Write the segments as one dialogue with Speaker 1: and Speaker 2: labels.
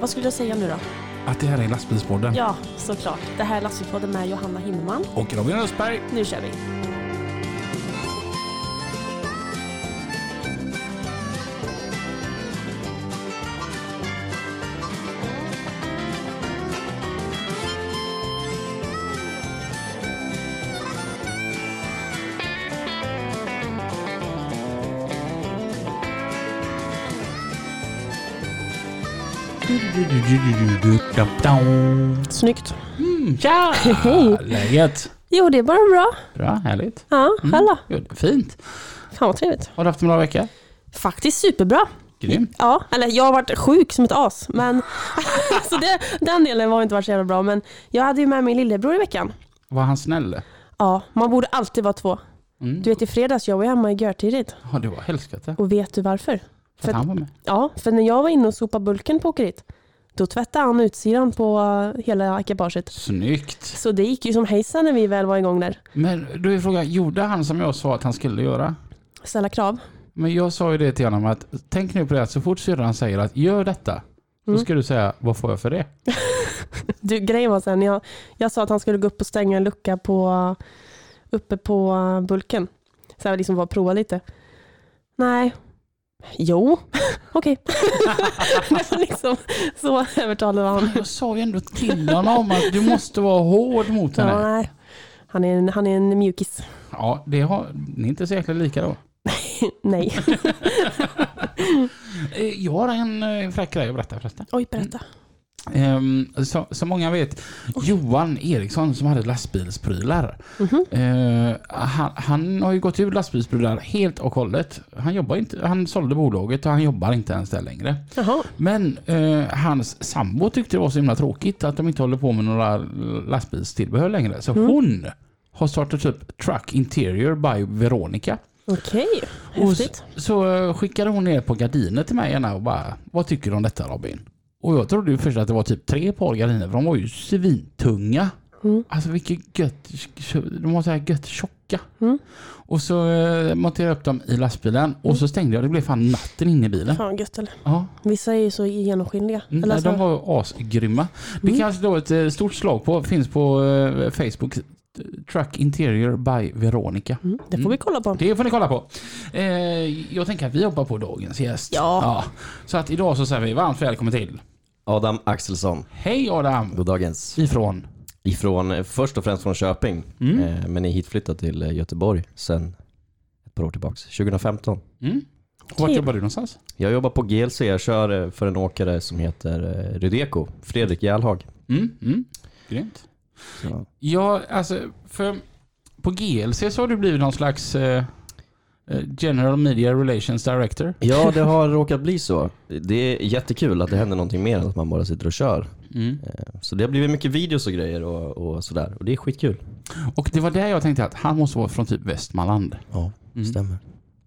Speaker 1: Vad skulle jag säga nu då?
Speaker 2: Att det här är lastbilspodden.
Speaker 1: Ja, såklart. Det här är Lastbilspodden med Johanna Hinneman.
Speaker 2: Och Robin Östberg.
Speaker 1: Nu kör vi! Snyggt!
Speaker 2: Tja!
Speaker 1: Hej.
Speaker 2: Läget?
Speaker 1: Jo, det är bara bra.
Speaker 2: Bra, härligt.
Speaker 1: Ja, själv då?
Speaker 2: Jo, det är fint.
Speaker 1: Mm. Fan vad trevligt.
Speaker 2: Har du haft en bra vecka?
Speaker 1: Faktiskt superbra.
Speaker 2: Grymt.
Speaker 1: Ja, eller jag har varit sjuk som ett as. Men, så det, den delen har inte varit så jävla bra. Men jag hade ju med min lillebror i veckan.
Speaker 2: Var han snäll?
Speaker 1: Ja, man borde alltid vara två.
Speaker 2: Mm.
Speaker 1: Du vet i fredags, jag var ju hemma i görtidigt.
Speaker 2: Ja, det var helskotta.
Speaker 1: Och vet du varför?
Speaker 2: För att han var med.
Speaker 1: Ja, för när jag var inne och sopade bulken på åkeriet, då tvättade han utsidan på eh, hela ekipaget.
Speaker 2: Snyggt.
Speaker 1: Så det gick ju som hejsan när vi väl var igång där.
Speaker 2: Men du är frågan, gjorde han som jag sa att han skulle göra?
Speaker 1: Ställa krav.
Speaker 2: Men jag sa ju det till honom att tänk nu på det att så fort syrran säger att gör detta,
Speaker 1: Mm.
Speaker 2: så ska du säga vad får jag för det?
Speaker 1: Du, grejen var sen, jag, jag sa att han skulle gå upp och stänga en lucka på, uppe på eh, bulken. Så jag liksom bara prova lite. Nej. Jo, okej. Det var liksom, så övertalade han.
Speaker 2: Jag sa ju ändå till honom att du måste vara hård mot
Speaker 1: Så,
Speaker 2: henne.
Speaker 1: nej. Han är, en, han är en mjukis.
Speaker 2: Ja, det har, ni är inte så jäkla lika då.
Speaker 1: Nej.
Speaker 2: Eh, Jag har en eh, fräck grej att berätta förresten.
Speaker 1: Oj, berätta.
Speaker 2: Ehm, så- Som många vet, Johan Eriksson som hade lastbilsprylar.
Speaker 1: Mhm.
Speaker 2: Eh, han, han har ju gått ur lastbilsprylar helt och hållet. Han, jobbar inte, han sålde bolaget och han jobbar inte ens där längre.
Speaker 1: Jaha.
Speaker 2: Men eh, hans sambo tyckte det var så himla tråkigt att de inte håller på med några lastbilstillbehör längre. Så hon har startat upp Truck Interior by Veronica.
Speaker 1: Okej,
Speaker 2: Och
Speaker 1: häftigt.
Speaker 2: s- så eh, skickade hon ner på gardiner till mig gärna och bara, vad tycker du om detta Robin? Och jag trodde ju först att det var typ tre par gardiner för de var ju svintunga.
Speaker 1: Mm.
Speaker 2: Alltså vilket gött, de var så här gött tjocka.
Speaker 1: Mm.
Speaker 2: Och så eh, monterade jag upp dem i lastbilen och så stängde jag, det blev fan natten inne i bilen.
Speaker 1: Fan gött eller?
Speaker 2: Ja.
Speaker 1: Vissa är ju så genomskinliga.
Speaker 2: Mm,
Speaker 1: eller
Speaker 2: nej,
Speaker 1: alltså, Mm.
Speaker 2: de var asgrymma. Det kanske då ett eh, stort slag på, finns på eh, Facebook, Truck Interior by Veronica.
Speaker 1: mm, det får vi kolla på.
Speaker 2: Det får ni kolla på. Eh, jag tänker att vi hoppar på dagens gäst.
Speaker 1: Ja.
Speaker 2: Så att idag så säger vi varmt välkommen till.
Speaker 3: Adam Axelsson,
Speaker 2: Hej Adam!
Speaker 3: god dagens.
Speaker 2: Ifrån?
Speaker 3: Ifrån, eh, först och främst från Köping, eh, men är hitflyttad till eh, Göteborg sen ett par år tillbaks, 2015.
Speaker 2: Mm. Och Vart
Speaker 1: Kul.
Speaker 2: jobbar du någonstans?
Speaker 3: Jag jobbar på GLC, jag kör eh, för en åkare som heter eh, Rydeko, Fredrik Järlhag.
Speaker 2: Mm. Mm. Grymt.
Speaker 3: Så,
Speaker 2: Ja, alltså för på GLC så har du blivit någon slags eh, eh, General Media Relations Director.
Speaker 3: Ja, det har råkat bli så. Det är jättekul att det händer någonting mer än att man bara sitter och kör.
Speaker 2: Mm.
Speaker 3: Eh, Så det har blivit mycket videos och grejer och, och sådär och det är skitkul.
Speaker 2: Och det var där jag tänkte att han måste vara från typ Västmanland.
Speaker 3: Ja,
Speaker 2: Mm.
Speaker 3: stämmer.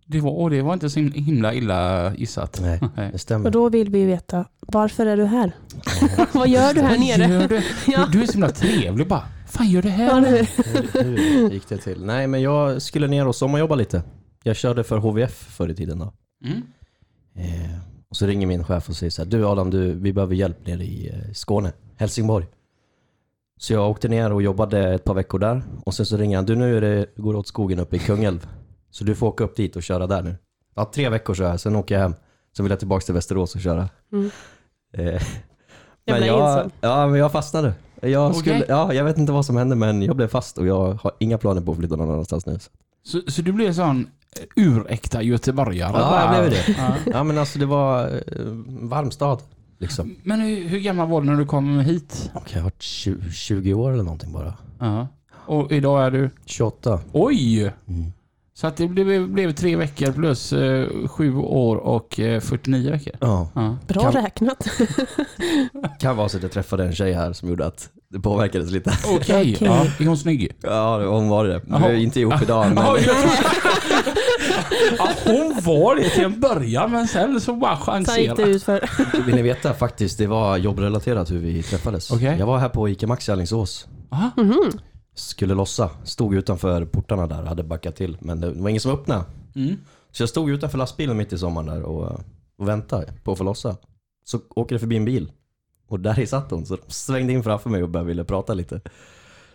Speaker 2: Det var, och det var inte så himla illa gissat. Eh.
Speaker 3: Nej,
Speaker 2: Nej.
Speaker 3: det
Speaker 1: Och
Speaker 3: stämmer.
Speaker 1: då vill vi ju veta, varför är du här? Vad gör du här nere?
Speaker 2: Gör du?
Speaker 1: Ja.
Speaker 2: Du, du är så himla trevlig bara. Fan gör det
Speaker 1: Ja,
Speaker 2: här?
Speaker 1: eller hur?
Speaker 3: Hur, hur gick det till? Nej, men jag skulle ner och sommarjobba lite. Jag körde för HVF förr i tiden då.
Speaker 2: Mm.
Speaker 3: Eh, och så ringer min chef och säger så här, du Adam, du, vi behöver hjälp nere i eh, Skåne, Helsingborg. Så jag åkte ner och jobbade ett par veckor där och sen så ringer han, du nu är det, går det åt skogen uppe i Kungälv. Så du får åka upp dit och köra där nu. Ja, tre veckor så här, sen åker jag hem. Sen vill jag tillbaka till Västerås och köra.
Speaker 1: Mm.
Speaker 3: Eh,
Speaker 1: Jag
Speaker 3: men
Speaker 1: blev
Speaker 3: jag,
Speaker 1: insåld.
Speaker 3: ja, men jag fastnade. Jag,
Speaker 2: Okej.
Speaker 3: skulle, ja, jag vet inte vad som hände men jag blev fast och jag har inga planer på att flytta någon annanstans nu. Så.
Speaker 2: Så, så du blev en sån eh, uräkta göteborgare?
Speaker 3: Ja, jag blev det.
Speaker 2: Ja.
Speaker 3: Ja men alltså det var eh, varm stad. Liksom.
Speaker 2: Men hur, hur gammal var du när du kom hit?
Speaker 3: Okej, jag har varit 20, 20 år eller någonting bara.
Speaker 2: Ja. Och idag är du?
Speaker 3: 28.
Speaker 2: Oj!
Speaker 3: Mm.
Speaker 2: Så att det blev, blev tre veckor plus eh, sju år och eh, 49 veckor.
Speaker 3: Ja.
Speaker 2: Ja.
Speaker 1: Bra
Speaker 3: Kan-
Speaker 1: räknat.
Speaker 3: Kan vara så att jag träffade en tjej här som gjorde att det påverkades lite.
Speaker 2: Okej,
Speaker 1: Okej.
Speaker 2: ja. är hon snygg?
Speaker 3: Ja, hon var det. Vi
Speaker 2: Jaha.
Speaker 3: är inte ihop idag men...
Speaker 2: jag tror- ja, hon var det till en början men sen så bara
Speaker 1: Så gick det
Speaker 2: chanserade.
Speaker 1: ut för.
Speaker 3: Vill ni veta faktiskt, det var jobbrelaterat hur vi träffades.
Speaker 2: Okej.
Speaker 3: Jag var här på ICA Maxi i Alingsås.
Speaker 2: Aha.
Speaker 3: Skulle lossa. Stod utanför portarna där, hade backat till. Men det var ingen som öppnade.
Speaker 2: Mm.
Speaker 3: Så jag stod utanför lastbilen mitt i sommaren där och eh, och väntade på att få lossa. Så åker det förbi en bil och där i satt hon. Så de svängde in framför mig och började ville prata lite.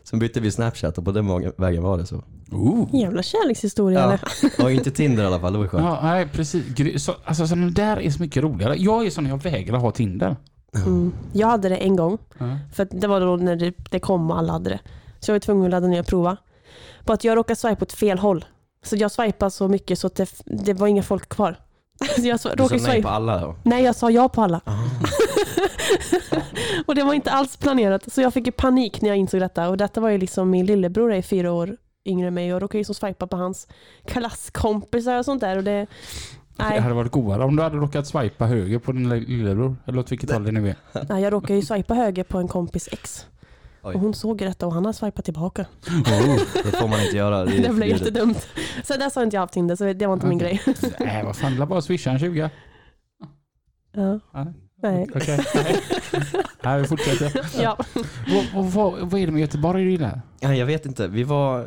Speaker 3: Sen bytte vi Snapchat och på den vägen- vägen var det så.
Speaker 2: Ooh.
Speaker 1: Jävla kärlekshistoria
Speaker 3: Ja,
Speaker 1: eller?
Speaker 3: och inte Tinder i alla fall, det var ju skönt.
Speaker 2: Ja, nej precis. Gry- Så, alltså sådana där är så mycket roligare. Jag är sån, jag vägrar ha Tinder.
Speaker 1: Mm. Jag hade det en gång.
Speaker 2: Ja.
Speaker 1: För att det var då när det, det kom och alla hade det. Så jag var tvungen att ladda ner och prova. Bara att jag råkade swipa åt fel håll. Så jag swipade så mycket så att det, det var inga folk kvar. Så jag sw-
Speaker 3: Du sa
Speaker 1: råkade
Speaker 3: nej på
Speaker 1: swipa.
Speaker 3: alla då?
Speaker 1: Nej, jag sa ja på alla.
Speaker 3: Ah.
Speaker 1: Och det var inte alls planerat. Så jag fick ju panik när jag insåg detta. Och detta var ju liksom min lillebror är fyra år yngre än mig. Jag råkade ju liksom swipa på hans klasskompisar och sånt där. Och det,
Speaker 2: Det
Speaker 1: nej,
Speaker 2: hade varit godare om du hade råkat swipa höger på din lille- lillebror. Eller åt vilket håll det nu är.
Speaker 1: nej, jag råkade ju swipa höger på en kompis ex.
Speaker 3: Oj.
Speaker 1: Och hon såg ju detta och han har swipat tillbaka.
Speaker 3: Det får man inte göra. är
Speaker 1: Det blev
Speaker 3: förbjudet.
Speaker 1: jättedumt. Så där har inte jag haft Tinder, så det var inte min
Speaker 2: Okej.
Speaker 1: grej.
Speaker 2: Nej, vad fan. la bara swisha en 20.
Speaker 1: Ja.
Speaker 2: Ja.
Speaker 1: Nej.
Speaker 2: Okej. Nej. Nej, vi fortsätter.
Speaker 1: Ja.
Speaker 2: Vad, vad, vad är det med Göteborg du gillar?
Speaker 3: Ja, jag vet inte. Vi var, eh,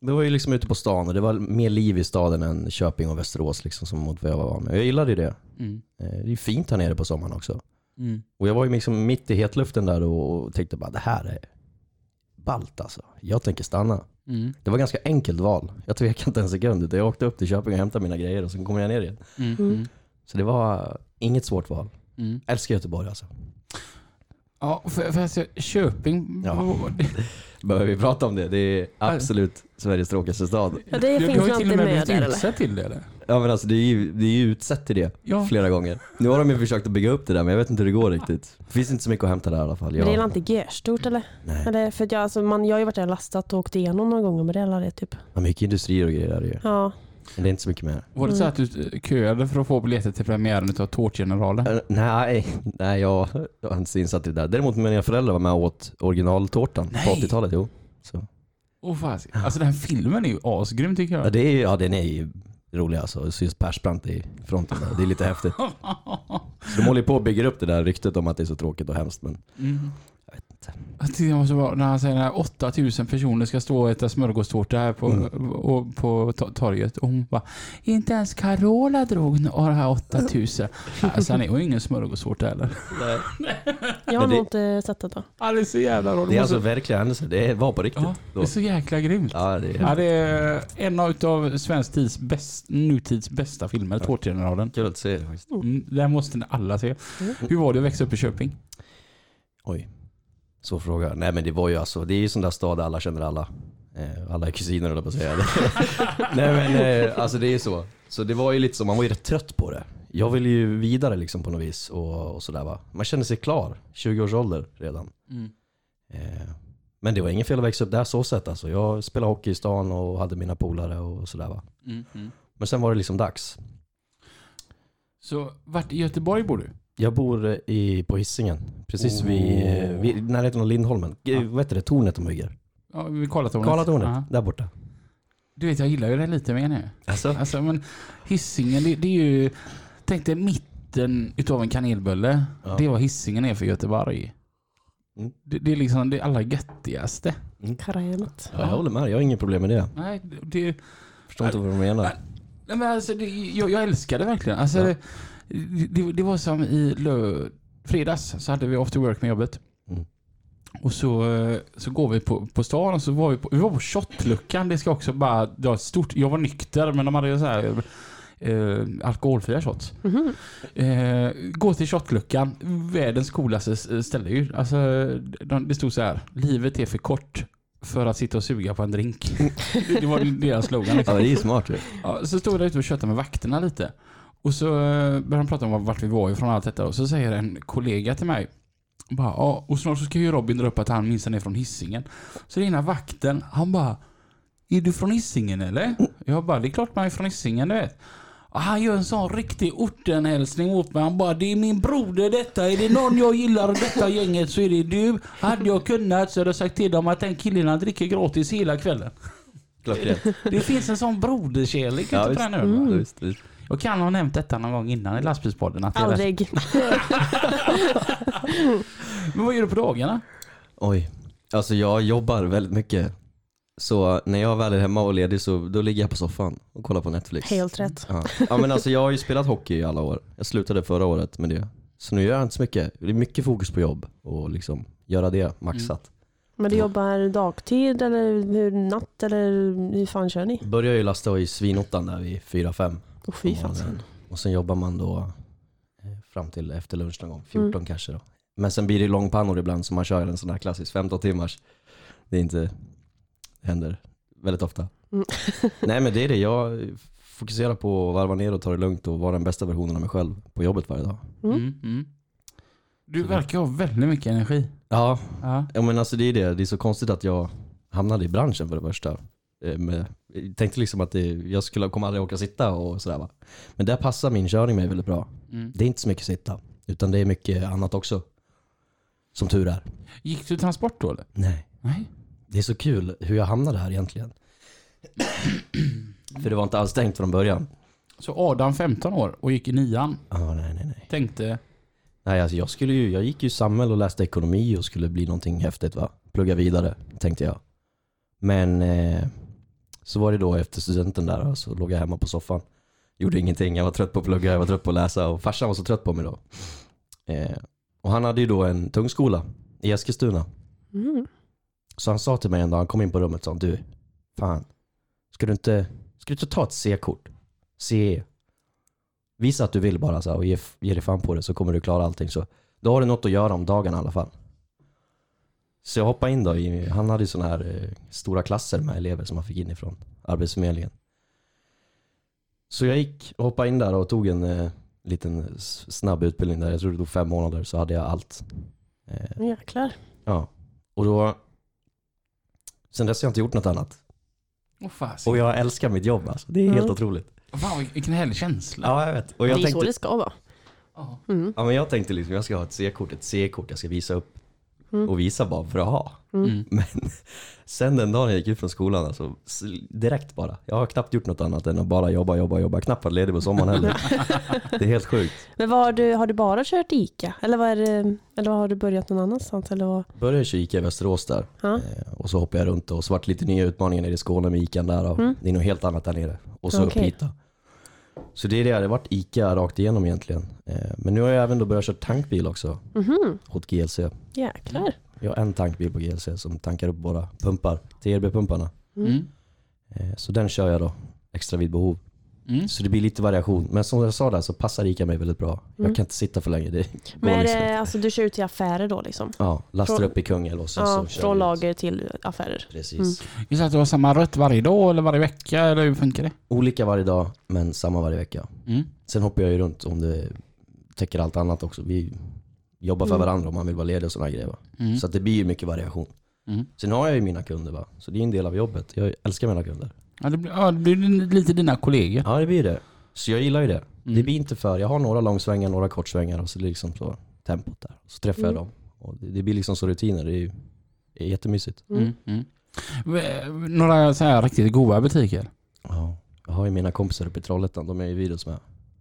Speaker 3: vi var ju liksom ute på stan och det var mer liv i staden än Köping och Västerås liksom, som mot vad jag var med. Jag gillade ju det.
Speaker 2: Mm.
Speaker 3: Eh, Det är ju fint här nere på sommaren också.
Speaker 2: Mm.
Speaker 3: Och jag var ju liksom mitt i hetluften där och och tänkte bara det här är ballt alltså. Jag tänker stanna.
Speaker 2: Mm.
Speaker 3: Det var ganska enkelt val. Jag tvekade inte en sekund. utan Jag åkte upp till Köping och hämtade mina grejer och sen kom jag ner igen.
Speaker 2: Mm.
Speaker 1: Mm.
Speaker 3: Så det var inget svårt val.
Speaker 2: Mm.
Speaker 3: Älskar Göteborg alltså.
Speaker 2: Ja, för, för alltså, Köping.
Speaker 3: Ja.
Speaker 2: vad-
Speaker 3: Behöver vi prata om det? Det är absolut Sveriges tråkigaste stad.
Speaker 1: Ja, det
Speaker 2: Du, du
Speaker 1: finns
Speaker 2: har
Speaker 1: ju
Speaker 2: ju till och
Speaker 1: alltid
Speaker 2: med
Speaker 1: med
Speaker 2: blivit
Speaker 1: där eller?
Speaker 2: utsedd till det eller?
Speaker 3: Ja men alltså det är ju, det är ju utsett till det
Speaker 2: Ja.
Speaker 3: flera gånger. Nu har de ju försökt att bygga upp det där men jag vet inte hur det går riktigt. Det finns inte så mycket att hämta där i alla fall.
Speaker 1: Men det är väl
Speaker 3: Jag,
Speaker 1: inte görstort eller?
Speaker 3: nej.
Speaker 1: eller för att jag, alltså, man, jag har ju varit där och lastat och åkt igenom några gånger med det eller det typ.
Speaker 3: Ja, mycket industrier och grejer där ju.
Speaker 1: Ja.
Speaker 3: Men det är inte så mycket mer.
Speaker 2: Var det så att du eh, köade för att få biljetter till premiären utav Tårtgeneralen?
Speaker 3: Äh, Nej, nej jag jag är inte så insatt i det där. Däremot mina föräldrar var med och åt originaltårtan på
Speaker 2: Nej.
Speaker 3: 80-talet. Jo. Så.
Speaker 2: Åh fas. Alltså den här filmen är ju asgrym tycker
Speaker 3: Ja,
Speaker 2: jag.
Speaker 3: det är, ju- ja den är ju rolig alltså. Syns Persbrandt i fronten där. Det är lite häftigt. Så de håller ju på och bygger upp det där ryktet om att det är så tråkigt och hemskt. Men
Speaker 2: Mm.
Speaker 3: jag vet inte.
Speaker 2: Jag tyckte det måste vara, när han säger att 8000 personer ska stå och äta smörgåstårta här på,
Speaker 3: Mm.
Speaker 2: och, på to- torget. Och hon bara, inte ens Carola drog nå- av de här 8000. Alltså han är ju ingen smörgåstårta heller.
Speaker 1: Jag har
Speaker 3: Men det-
Speaker 1: nog inte sett det då.
Speaker 2: Ja, det är så jävla roligt.
Speaker 3: Det är alltså verkliga händelser. Det var på riktigt.
Speaker 2: ja, det
Speaker 3: då.
Speaker 2: är så jäkla grymt.
Speaker 3: Ja, det är
Speaker 2: Ja, det är eh, en av svensk tids bäst, nutids bästa filmer, Tårtgeneralen.
Speaker 3: kul att se det faktiskt.
Speaker 2: Mm, Den måste ni alla se.
Speaker 1: Mm.
Speaker 2: Hur var det att växa upp i Köping?
Speaker 3: Oj. Så fråga. Nej men det var ju alltså, det är ju sån där stad där alla känner alla. Eh, alla är kusiner höll jag på att säga. Nej men eh, alltså det är ju så. Så det var ju lite så, man var ju rätt trött på det. Jag ville ju vidare liksom på något vis och, och sådär va. Man kände sig klar, 20 års ålder redan. Eh, men det var ingen fel att växa upp där så sett alltså. Jag spelade hockey i stan och hade mina polare och sådär va. Men sen var det liksom dags.
Speaker 2: Så vart i Göteborg bor du?
Speaker 3: Jag bor eh, i, på Hisingen, precis vid, eh,
Speaker 2: Oh.
Speaker 3: vid i närheten av Lindholmen.
Speaker 2: Ja.
Speaker 3: Ja. Vad heter det? Tornet de bygger?
Speaker 2: Ja, vid Karlatornet.
Speaker 3: Karlatornet,
Speaker 2: Ja.
Speaker 3: där borta.
Speaker 2: Du vet, jag gillar ju det lite mer nu.
Speaker 3: Alltså?
Speaker 2: Alltså, men Hisingen, det, det är ju... Tänk dig mitten utav en kanelbulle.
Speaker 3: Ja.
Speaker 2: Det är vad Hisingen är för Göteborg.
Speaker 3: Mm.
Speaker 2: Det, det är liksom det allra göttigaste.
Speaker 1: Karänet.
Speaker 3: Ja, jag håller med. Jag har inget problem med det.
Speaker 2: Nej, det,
Speaker 3: Förstår inte vad de menar.
Speaker 2: nej men alltså, det, jag, jag älskar det verkligen. Alltså,
Speaker 3: Ja.
Speaker 2: det, det, det var som i lö, fredags så hade vi after work med jobbet.
Speaker 3: Mm.
Speaker 2: Och så, eh, så går vi på, på stan och så var vi på, vi var på shotluckan. Det ska också bara dra ett stort... Jag var nykter men de hade ju så här eh, alkoholfria shots.
Speaker 1: Mhm.
Speaker 2: Eh, gå till shotluckan. Världens coolaste s- ställe ju. Alltså, de, det stod så här. Livet är för kort för att sitta och suga på en drink. det var deras slogan.
Speaker 3: Ja,
Speaker 2: Liksom.
Speaker 3: det är ju smart ju.
Speaker 2: Ja, så stod jag där ute och tjötade med vakterna lite. Och så eh, började de prata om vart vi var ifrån och allt detta. Och så säger en kollega till mig. Bara, ja, och snart så ska ju Robin dra upp att han minsann är från Hisingen. Så ringer vakten. Han bara. Är du från Hisingen eller? Jag bara, det är klart man är från Hisingen du vet. Och han gör en sån riktig ortenhälsning mot mig. Han bara, det är min broder detta. Är det någon jag gillar i detta gänget så är det du. Hade jag kunnat så hade jag sagt till dem att den killen han dricker gratis hela kvällen.
Speaker 3: Klockrent.
Speaker 2: Det finns en sån broderkärlek
Speaker 3: Ja,
Speaker 2: ute på
Speaker 3: visst.
Speaker 2: den ön. va?
Speaker 3: Mm. Visst, visst.
Speaker 2: Jag kan ha nämnt detta någon gång innan i lastbilspodden. Att det är
Speaker 1: Aldrig.
Speaker 2: värst. Men vad gör du på dagarna?
Speaker 3: Oj. Alltså jag jobbar väldigt mycket. Så när jag väl är hemma och ledig så då ligger jag på soffan och kollar på Netflix.
Speaker 1: Helt rätt.
Speaker 3: Ja. ja men alltså jag har ju spelat hockey i alla år. Jag slutade förra året med det. Så nu gör jag inte så mycket. Det är mycket fokus på jobb och liksom göra det maxat.
Speaker 1: Men du
Speaker 3: Ja.
Speaker 1: jobbar dagtid eller hur, natt eller hur fan kör ni?
Speaker 3: Mm. Börjar ju lasta i svinottan där vid 4-5
Speaker 1: Åh fy fan.
Speaker 3: Och sen jobbar man då eh, fram till efter lunch någon gång, 14
Speaker 1: Mm.
Speaker 3: kanske då. Men sen blir det långpannor ibland så man kör en sån här klassisk 15 timmars. Det är inte, det händer väldigt ofta.
Speaker 1: Mm.
Speaker 3: Nej men det är det, jag fokuserar på att varva ner och ta det lugnt och vara den bästa versionen av mig själv på jobbet varje dag.
Speaker 1: Mm.
Speaker 2: Mm, mm. Du
Speaker 3: Så det-
Speaker 2: verkar ha väldigt mycket energi.
Speaker 3: Ja,
Speaker 2: Ja.
Speaker 3: Ja men alltså det är det. Det är så konstigt att jag hamnade i branschen för det första. Eh, men Jag tänkte liksom att det, jag skulle kommer aldrig orka sitta och sådär va. Men där passar min körning mig väldigt bra.
Speaker 2: Mm.
Speaker 3: Det är inte så mycket sitta. Utan det är mycket annat också. Som tur är.
Speaker 2: Gick du transport då eller?
Speaker 3: Nej.
Speaker 2: Nej.
Speaker 3: Det är så kul hur jag hamnade här egentligen. för det var inte alls tänkt från början.
Speaker 2: Så Adam 15 år och gick i nian.
Speaker 3: Ah, nej, nej, nej.
Speaker 2: Tänkte,
Speaker 3: Nej, alltså jag, skulle ju, jag gick ju samhäll och läste ekonomi och skulle bli någonting häftigt va. Plugga vidare, tänkte jag. Men eh, så var det då efter studenten där, så låg jag hemma på soffan. Gjorde ingenting, jag var trött på att plugga, jag var trött på att läsa och farsan var så trött på mig då. Eh, och han hade ju då en tung skola i Eskilstuna.
Speaker 1: Mm.
Speaker 3: Så han sa till mig en dag, han kom in på rummet och sa du, fan, ska du inte, ska du inte ta ett C-kort? CE. Visa att du vill bara så här, och ge, ge dig fan på det så kommer du klara allting. Så då har du något att göra om dagen i alla fall. Så jag hoppade in då, i, han hade ju sådana här eh, stora klasser med elever som han fick inifrån Arbetsförmedlingen. Så jag gick och hoppade in där och tog en eh, liten s- snabb utbildning där. Jag tror det tog fem månader så hade jag allt. Eh,
Speaker 1: Mm. Jäklar.
Speaker 3: Ja. Och då... Sen dess har jag inte gjort något annat.
Speaker 2: åh fasen.
Speaker 3: Och jag älskar mitt jobb alltså. Det är
Speaker 1: Mm.
Speaker 3: helt otroligt.
Speaker 2: Fan vilken härlig känsla.
Speaker 3: Ja, jag vet.
Speaker 1: Det
Speaker 3: Och
Speaker 1: är
Speaker 3: jag
Speaker 1: så
Speaker 3: tänkte,
Speaker 1: det ska vara.
Speaker 2: Ja.
Speaker 1: Mm.
Speaker 3: ja, men jag tänkte liksom, jag ska ha ett C-kort, ett C-kort jag ska visa upp.
Speaker 1: Mm.
Speaker 3: Och visa bara för att ha.
Speaker 2: Mm.
Speaker 3: Men sen den dagen jag gick ut från skolan, alltså, s- direkt bara. Jag har knappt gjort något annat än att bara jobba, jobba, jobba. Knappt varit ledig på sommaren heller. Det är helt sjukt.
Speaker 1: Men vad har, du, har du bara kört ICA? Eller, vad är det, eller har du börjat någon annanstans? Eller vad?
Speaker 3: Började köra Ica i Västerås där.
Speaker 1: Ja.
Speaker 3: Eh, Och så hoppade jag runt och så vart det lite nya utmaningar nere i Skåne med Ica där. Och
Speaker 1: Mm.
Speaker 3: Det är något helt annat där nere. Och så
Speaker 1: Okej.
Speaker 3: upp hit då. Så det är det, det har varit Ica rakt igenom egentligen. Eh, Men nu har jag även då börjat köra tankbil också
Speaker 1: Mhm.
Speaker 3: åt GLC.
Speaker 1: Jäklar.
Speaker 3: Jag har en tankbil på GLC som tankar upp våra pumpar, TRB-pumparna.
Speaker 2: Mm.
Speaker 3: Eh, Så den kör jag då extra vid behov.
Speaker 2: Mm.
Speaker 3: Så det blir lite variation. Men som jag sa där så passar Ica mig väldigt bra.
Speaker 1: Mm.
Speaker 3: Jag kan inte sitta för länge. Det går
Speaker 1: Men är
Speaker 3: liksom.
Speaker 1: det, alltså, du kör ut till affärer då liksom?
Speaker 3: Ja, lastar
Speaker 1: Från-
Speaker 3: upp i Kungälv och sen
Speaker 1: Ja,
Speaker 3: så kör vi
Speaker 1: från
Speaker 3: ut.
Speaker 1: lager till affärer.
Speaker 3: Precis.
Speaker 1: Mm.
Speaker 2: Vi sa att du har samma rött varje dag eller varje vecka eller hur funkar det?
Speaker 3: Olika varje dag men samma varje vecka.
Speaker 2: Mm.
Speaker 3: Sen hoppar jag ju runt om det täcker allt annat också. Vi jobbar för
Speaker 1: Mm.
Speaker 3: varandra om man vill vara ledig och sådana grejer. Va?
Speaker 2: Mm.
Speaker 3: Så att det blir ju mycket variation.
Speaker 2: Mm.
Speaker 3: Sen har jag ju mina kunder va, så det är en del av jobbet. Jag älskar mina kunder.
Speaker 2: Ja, det blir, ja, det blir lite dina kollegor.
Speaker 3: Ja det blir det. Så jag gillar ju det.
Speaker 2: Mm.
Speaker 3: Det blir inte för, jag har några långsvängar, några kortsvängar och så liksom så tempot där. Så träffar
Speaker 1: Mm.
Speaker 3: jag dem. Och det, det blir liksom så rutiner. Det är ju det är jättemysigt.
Speaker 2: Mm. Mm. V- Några så här riktigt goda butiker.
Speaker 3: Ja. Jag har ju mina kompisar uppe i Trollhättan, de är ju videos med.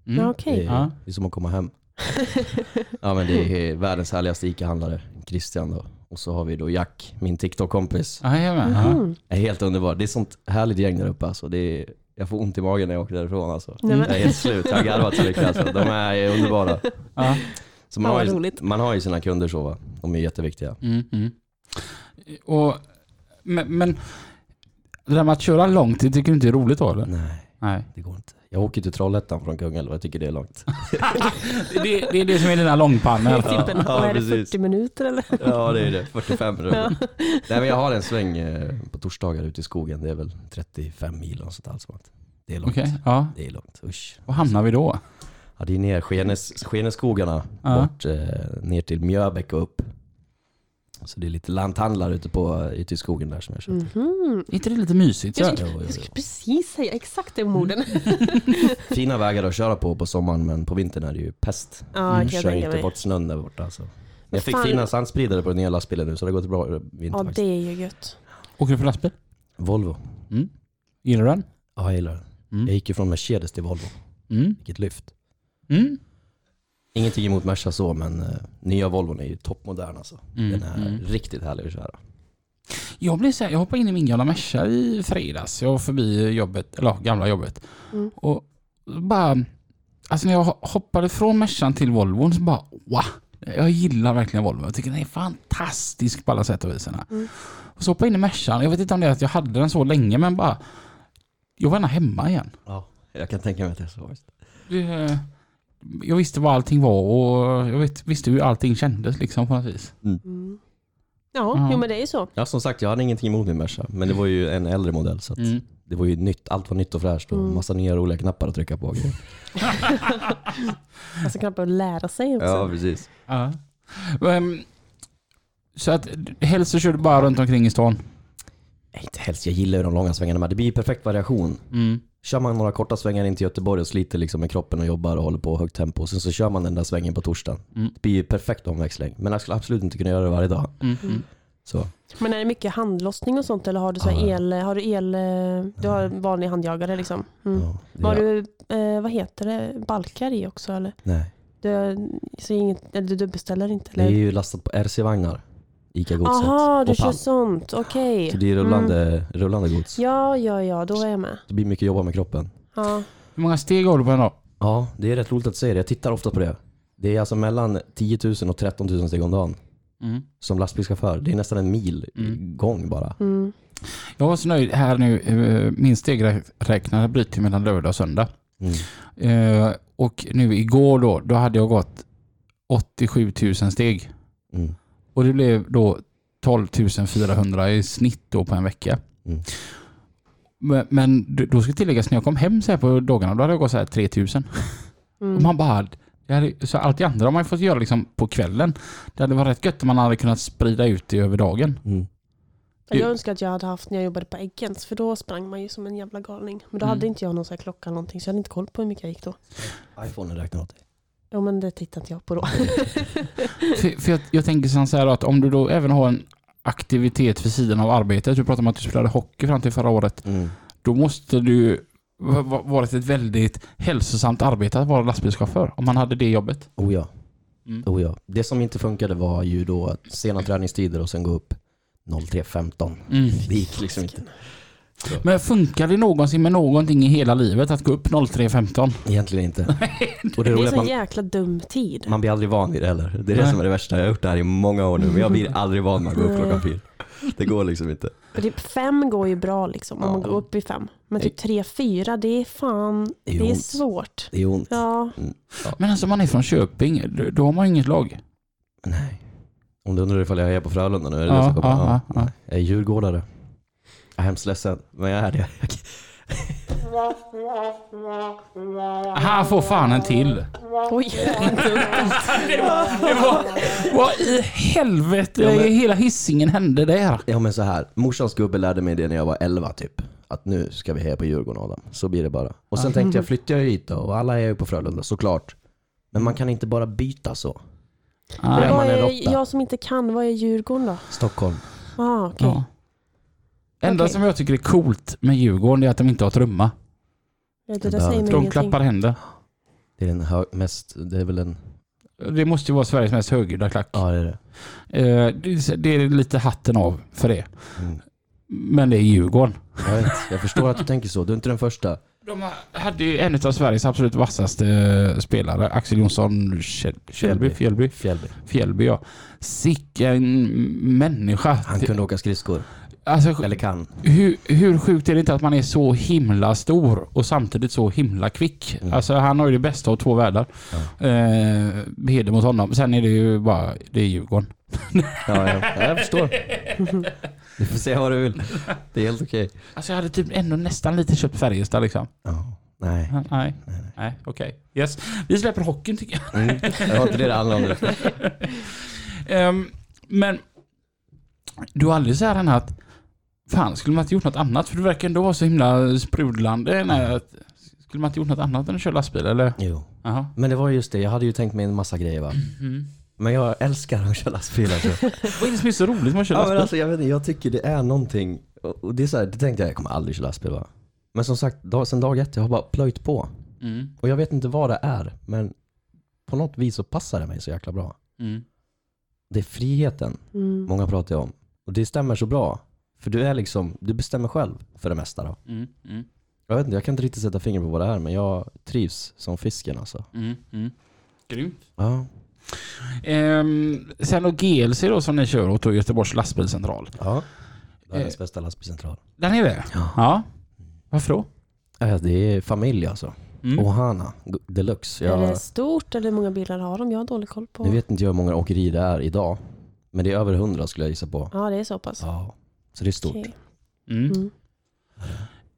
Speaker 2: Mm.
Speaker 1: Ja,
Speaker 3: Det är,
Speaker 1: Okej.
Speaker 2: Ja.
Speaker 3: det är som att komma hem. ja men det är världens härligaste ICA-handlare, Christian då. Och så har vi då Jack, min TikTok-kompis.
Speaker 2: Jajamän. Ja.
Speaker 1: Mhm.
Speaker 3: Är helt underbar. Det är sånt härligt gäng där uppe alltså. Det är, jag får ont i magen när jag åker därifrån alltså.
Speaker 1: Nej, men-
Speaker 3: Jag är helt slut. Jag har garvat så mycket alltså. De är underbara.
Speaker 2: Ja.
Speaker 3: Så man,
Speaker 1: Ja,
Speaker 3: har
Speaker 1: vad
Speaker 3: ju,
Speaker 1: roligt.
Speaker 3: man har ju sina kunder så va. De är jätteviktiga.
Speaker 2: Mm, mm. Och, men, men det där med att köra långt, det tycker du inte är roligt då eller?
Speaker 3: Nej,
Speaker 2: Nej.
Speaker 3: det går inte. Jag åker till Trollhättan från Kungälv och jag tycker det är långt.
Speaker 2: Det, det är det som är dina långpannor.
Speaker 1: Typ en,
Speaker 3: Ja,
Speaker 1: vad är det,
Speaker 3: precis.
Speaker 1: 40 minuter eller?
Speaker 3: Ja det är det. 45 minuter. Nej men jag har en sväng eh, på torsdagar ute i skogen. Det är väl 35 mil och sånt där. alltså. Det är långt.
Speaker 2: Okej, ja.
Speaker 3: Det är långt. Usch.
Speaker 2: Var hamnar vi då?
Speaker 3: Ja, det är ner Skenes, Skeneskogarna
Speaker 2: Ja.
Speaker 3: bort eh, ner till Mjöbäck och upp. Så det är lite lanthandlar ute, på, ute i skogen där som jag köper.
Speaker 1: Mhm.
Speaker 2: Är inte det lite mysigt? Så?
Speaker 1: Jag
Speaker 2: här?
Speaker 1: tycker-
Speaker 3: Jo, jo,
Speaker 1: Jag
Speaker 3: jo.
Speaker 1: skulle precis säga exakt de orden.
Speaker 3: Fina vägar att köra på på sommaren men på vintern är det ju pest.
Speaker 1: Ja, kan jag
Speaker 3: Kör
Speaker 1: tänka
Speaker 3: inte
Speaker 1: mig.
Speaker 3: bort snön där borta. Så. Jag fick
Speaker 1: fan-
Speaker 3: fina sandspridare på den nya lastbilen nu så det har gått bra i vinter
Speaker 1: Ja, det
Speaker 3: faktiskt.
Speaker 1: är ju gött.
Speaker 2: Åker du för lastbil?
Speaker 3: Volvo.
Speaker 2: Gillar du den?
Speaker 3: Ja, jag gillar den. Jag
Speaker 2: Mm.
Speaker 3: gick ju från Mercedes till Volvo.
Speaker 2: Mm.
Speaker 3: Vilket lyft.
Speaker 2: Mm.
Speaker 3: Ingenting emot Merca så men eh, nya Volvon är ju toppmodern alltså.
Speaker 2: Mm.
Speaker 3: Den är
Speaker 2: Mm.
Speaker 3: riktigt härlig att köra.
Speaker 2: Jag blev så här, jag hoppade in i min gamla Merca i fredags. Jag var förbi jobbet, eller ja, gamla jobbet.
Speaker 1: Mm.
Speaker 2: Och bara, alltså när jag hoppade från Mercan till Volvon så bara, wow. Jag gillar verkligen Volvo. Jag tycker den är fantastisk på alla sätt och vis. den här.
Speaker 1: Mm.
Speaker 2: Och så hoppade jag in i Mercan. Jag vet inte om det är att jag hade den så länge men bara, jag var gärna hemma igen.
Speaker 3: Ja, jag kan tänka mig att det är så. Visst.
Speaker 2: Det, jag visste vad allting var och jag vet, visste hur allting kändes liksom på något vis.
Speaker 1: Mm. Ja,
Speaker 2: Ja.
Speaker 1: jo men det är ju så.
Speaker 3: Ja, som sagt, jag hade ingenting emot min Merca, men det var ju en äldre modell så att
Speaker 2: Mm.
Speaker 3: det var ju nytt. Allt var nytt och fräscht och
Speaker 1: Mm.
Speaker 3: massa nya roliga knappar att trycka på.
Speaker 1: Alltså knappt att lära sig alltså. också.
Speaker 3: precis.
Speaker 2: Ja. Men, så att helst så kör du bara runt omkring i stan.
Speaker 3: Inte helst, jag gillar ju de långa svängarna med. Det blir ju perfekt variation.
Speaker 2: Mm.
Speaker 3: Kör man några korta svängar in till Göteborg och sliter liksom med kroppen och jobbar och håller på i högt tempo. Sen så kör man den där svängen på torsdagen.
Speaker 2: Mm.
Speaker 3: Det blir ju perfekt omväxling. Men jag skulle absolut inte kunna göra det varje dag.
Speaker 2: Mm. Mm.
Speaker 3: Så.
Speaker 1: Men är det mycket handlossning och sånt eller har du så här
Speaker 3: Ja. Mm.
Speaker 1: el, har du el, eh, du har en vanlig handjagare liksom? Mm.
Speaker 3: Ja, det
Speaker 1: Har
Speaker 3: gör-
Speaker 1: du, eh, vad heter det, balkar i också eller?
Speaker 3: Nej.
Speaker 1: Du, så inget, eller du dubbelställer inte?
Speaker 3: Det är
Speaker 1: Eller?
Speaker 3: ju lastat på RC-vagnar. Ica-godset.
Speaker 1: Aha, du
Speaker 3: och
Speaker 1: kör
Speaker 3: pall.
Speaker 1: sånt, okej.
Speaker 3: Så det är rullande, rullande gods.
Speaker 1: Ja, ja, ja, då är jag med.
Speaker 3: Det blir mycket jobba med kroppen.
Speaker 1: Ja.
Speaker 2: Hur många steg har du på en dag?
Speaker 3: Ja, det är rätt roligt att säga det. Jag tittar ofta på det. Det är alltså mellan 10 000 och 13 000 steg om dagen som lastbilschaufför. Det är nästan en mil
Speaker 2: Mm.
Speaker 3: gång bara.
Speaker 1: Mm.
Speaker 2: Jag var så nöjd här nu. eh, Min stegräknare bryter mellan lördag och söndag.
Speaker 3: Mm.
Speaker 2: Eh, Och nu igår då, då hade jag gått 87 000 steg.
Speaker 3: Mm.
Speaker 2: Och det blev då 12 400 i snitt då på en vecka.
Speaker 3: Mm.
Speaker 2: Men, men då ska tilläggas, när jag kom hem så här på dagarna, då hade jag gått så här 3 000. Och
Speaker 1: Mm.
Speaker 2: man bara, det hade, så allt det andra har man ju fått göra liksom på kvällen. Det hade varit rätt gött om man hade kunnat sprida ut det över dagen.
Speaker 3: Mm.
Speaker 1: Jag önskar att jag hade haft när jag jobbade på Eggens, för då sprang man ju som en jävla galning. Men då
Speaker 2: Mm.
Speaker 1: hade inte jag någon sån här klocka eller någonting, så jag hade inte koll på hur mycket jag gick då.
Speaker 3: Iphone räknar åt dig.
Speaker 1: Ja, men det tittade inte jag på då.
Speaker 2: För, för jag, jag tänker sen så här att om du då även har en aktivitet vid sidan av arbetet, du pratade om att du spelade hockey fram till förra året,
Speaker 3: Mm.
Speaker 2: då måste du ha ha varit ett väldigt hälsosamt arbete att vara lastbilschaufför, om man hade det jobbet.
Speaker 3: Oh ja.
Speaker 2: Mm.
Speaker 3: Oh ja. Det som inte funkade var ju då att sena träningstider och sen gå upp 03.15. Det gick liksom inte.
Speaker 2: Men funkar det någonsin med någonting i hela livet att gå upp 03.15?
Speaker 3: Egentligen inte. Och det
Speaker 1: Det är
Speaker 3: roliga är att
Speaker 1: så
Speaker 3: man,
Speaker 1: jäkla dum tid.
Speaker 3: man blir aldrig van vid det heller. Det är det
Speaker 2: Nej.
Speaker 3: som är det värsta. Jag har gjort det här i många år nu men jag blir aldrig van med att gå upp klockan fyra. Det går liksom inte.
Speaker 1: För Typ fem går ju bra liksom, om man
Speaker 3: Ja.
Speaker 1: går upp i fem. Men typ tre, fyra, det är fan,
Speaker 3: Det är
Speaker 1: det är
Speaker 3: ont.
Speaker 1: svårt.
Speaker 3: Det är ont.
Speaker 1: Ja,
Speaker 2: Men alltså om man är från Köping, då- då har man ju inget lag.
Speaker 3: Nej. Om du undrar ifall jag är på Frölunda nu, är det
Speaker 2: Ja,
Speaker 3: det som kommer?
Speaker 2: ja, ja,
Speaker 3: Nej. Jag är djurgårdare. Jag är hemskt ledsen, men jag är det.
Speaker 2: Han får fan en till.
Speaker 1: oj.
Speaker 2: Vad i helvete
Speaker 3: Ja, men-
Speaker 2: i hela hissingen hände där?
Speaker 3: Ja men så här, morsans gubbe lärde mig det när jag var 11 typ. Att nu ska vi heja på Djurgården Adam. Så blir det bara. Och sen tänkte jag, flyttar jag hit då? Och alla är ju på Frölunda såklart. Men man kan inte bara byta så.
Speaker 2: Nej,
Speaker 3: man
Speaker 1: Vad
Speaker 3: är
Speaker 1: är,
Speaker 3: råtta.
Speaker 1: jag som inte kan, vad är Djurgården då?
Speaker 3: Stockholm.
Speaker 1: Ah, okej.
Speaker 2: Ja. Enda
Speaker 1: Okej.
Speaker 2: som jag tycker är coolt med Djurgården är att de inte har trumma.
Speaker 1: Det där säger mig
Speaker 2: De
Speaker 1: ingenting.
Speaker 2: klappar händer.
Speaker 3: Det är den hö- mest, det är väl en,
Speaker 2: Det måste ju vara Sveriges mest högljudda klack.
Speaker 3: ja det är det.
Speaker 2: Eh, det- Det är lite hatten av för det.
Speaker 3: Mm.
Speaker 2: Men det är Djurgården.
Speaker 3: Jag vet, jag förstår att du tänker så. Du är inte den första.
Speaker 2: De hade ju en av Sveriges absolut vassaste eh, spelare, Axel Jonsson Fjäll- Fjällby. Fjällby,
Speaker 3: Fjällby.
Speaker 2: Fjällby ja. Sicken människa.
Speaker 3: Han kunde åka skridskor.
Speaker 2: Alltså,
Speaker 3: Eller kan.
Speaker 2: hur, hur sjukt är det inte att man är så himla stor och samtidigt så himla kvick?
Speaker 3: Mm.
Speaker 2: Alltså han har ju det bästa av två världar. Eh, heder mot honom. Sen är det ju bara, det är Djurgården.
Speaker 3: Ja, ja. jag förstår. Du får säga vad du vill. Det är helt okej.
Speaker 2: Alltså jag hade typ ändå nästan lite köpt Färjestad liksom.
Speaker 3: Ja, nej.
Speaker 2: Nej, nej, nej okej. Yes. Vi släpper hockeyn tycker jag.
Speaker 3: Mm. Det var inte det det handlade om. nu.
Speaker 2: Ehm, men du har aldrig så här Hanna, att fan skulle man inte gjort något annat? För du verkar ändå vara så himla sprudlande. Nej, att, skulle man inte gjort något annat än att köra lastbil eller?
Speaker 3: Jo.
Speaker 2: Jaha.
Speaker 3: Men det var just det, jag hade ju tänkt mig en massa grejer va.
Speaker 2: Mm.
Speaker 3: Men jag älskar att köra lastbil alltså.
Speaker 2: Vad är det som är så roligt med att köra
Speaker 3: ja,
Speaker 2: lastbil?
Speaker 3: men alltså jag, vet inte, jag tycker det är någonting. Och och det, är så här, det tänkte jag, jag kommer aldrig köra lastbil va. Men som sagt, dag, sen dag ett, jag har bara plöjt på.
Speaker 2: Mm.
Speaker 3: Och jag vet inte vad det är, men på något vis så passar det mig så jäkla bra.
Speaker 2: Mm.
Speaker 3: Det är friheten
Speaker 1: Mm.
Speaker 3: många pratar ju om. Och det stämmer så bra. För du är liksom, du bestämmer själv för det mesta då.
Speaker 2: Mm, mm,
Speaker 3: Jag vet inte, jag kan inte riktigt sätta fingret på vad det är men jag trivs som fisken alltså.
Speaker 2: mm, mm. Grymt.
Speaker 3: Ja.
Speaker 2: Ehm, sen då GLC då som ni kör åt då Göteborgs lastbilscentral.
Speaker 3: ja. Världens
Speaker 2: Eh.
Speaker 3: bästa lastbilscentral.
Speaker 2: Den är det?
Speaker 3: Ja.
Speaker 2: Ja. Varför då?
Speaker 3: Äh, Det är familj alltså.
Speaker 2: Mm.
Speaker 3: Ohana deluxe.
Speaker 1: Är
Speaker 3: Jag,
Speaker 1: det stort eller hur många bilar har de? Jag har dålig koll på.
Speaker 3: nu vet inte jag hur många åkerier det är idag. Men det är över hundra skulle jag gissa på.
Speaker 1: Ja, det är så pass.
Speaker 3: Ja. Så det är stort.
Speaker 1: Okej.
Speaker 2: Mm.
Speaker 1: Mm.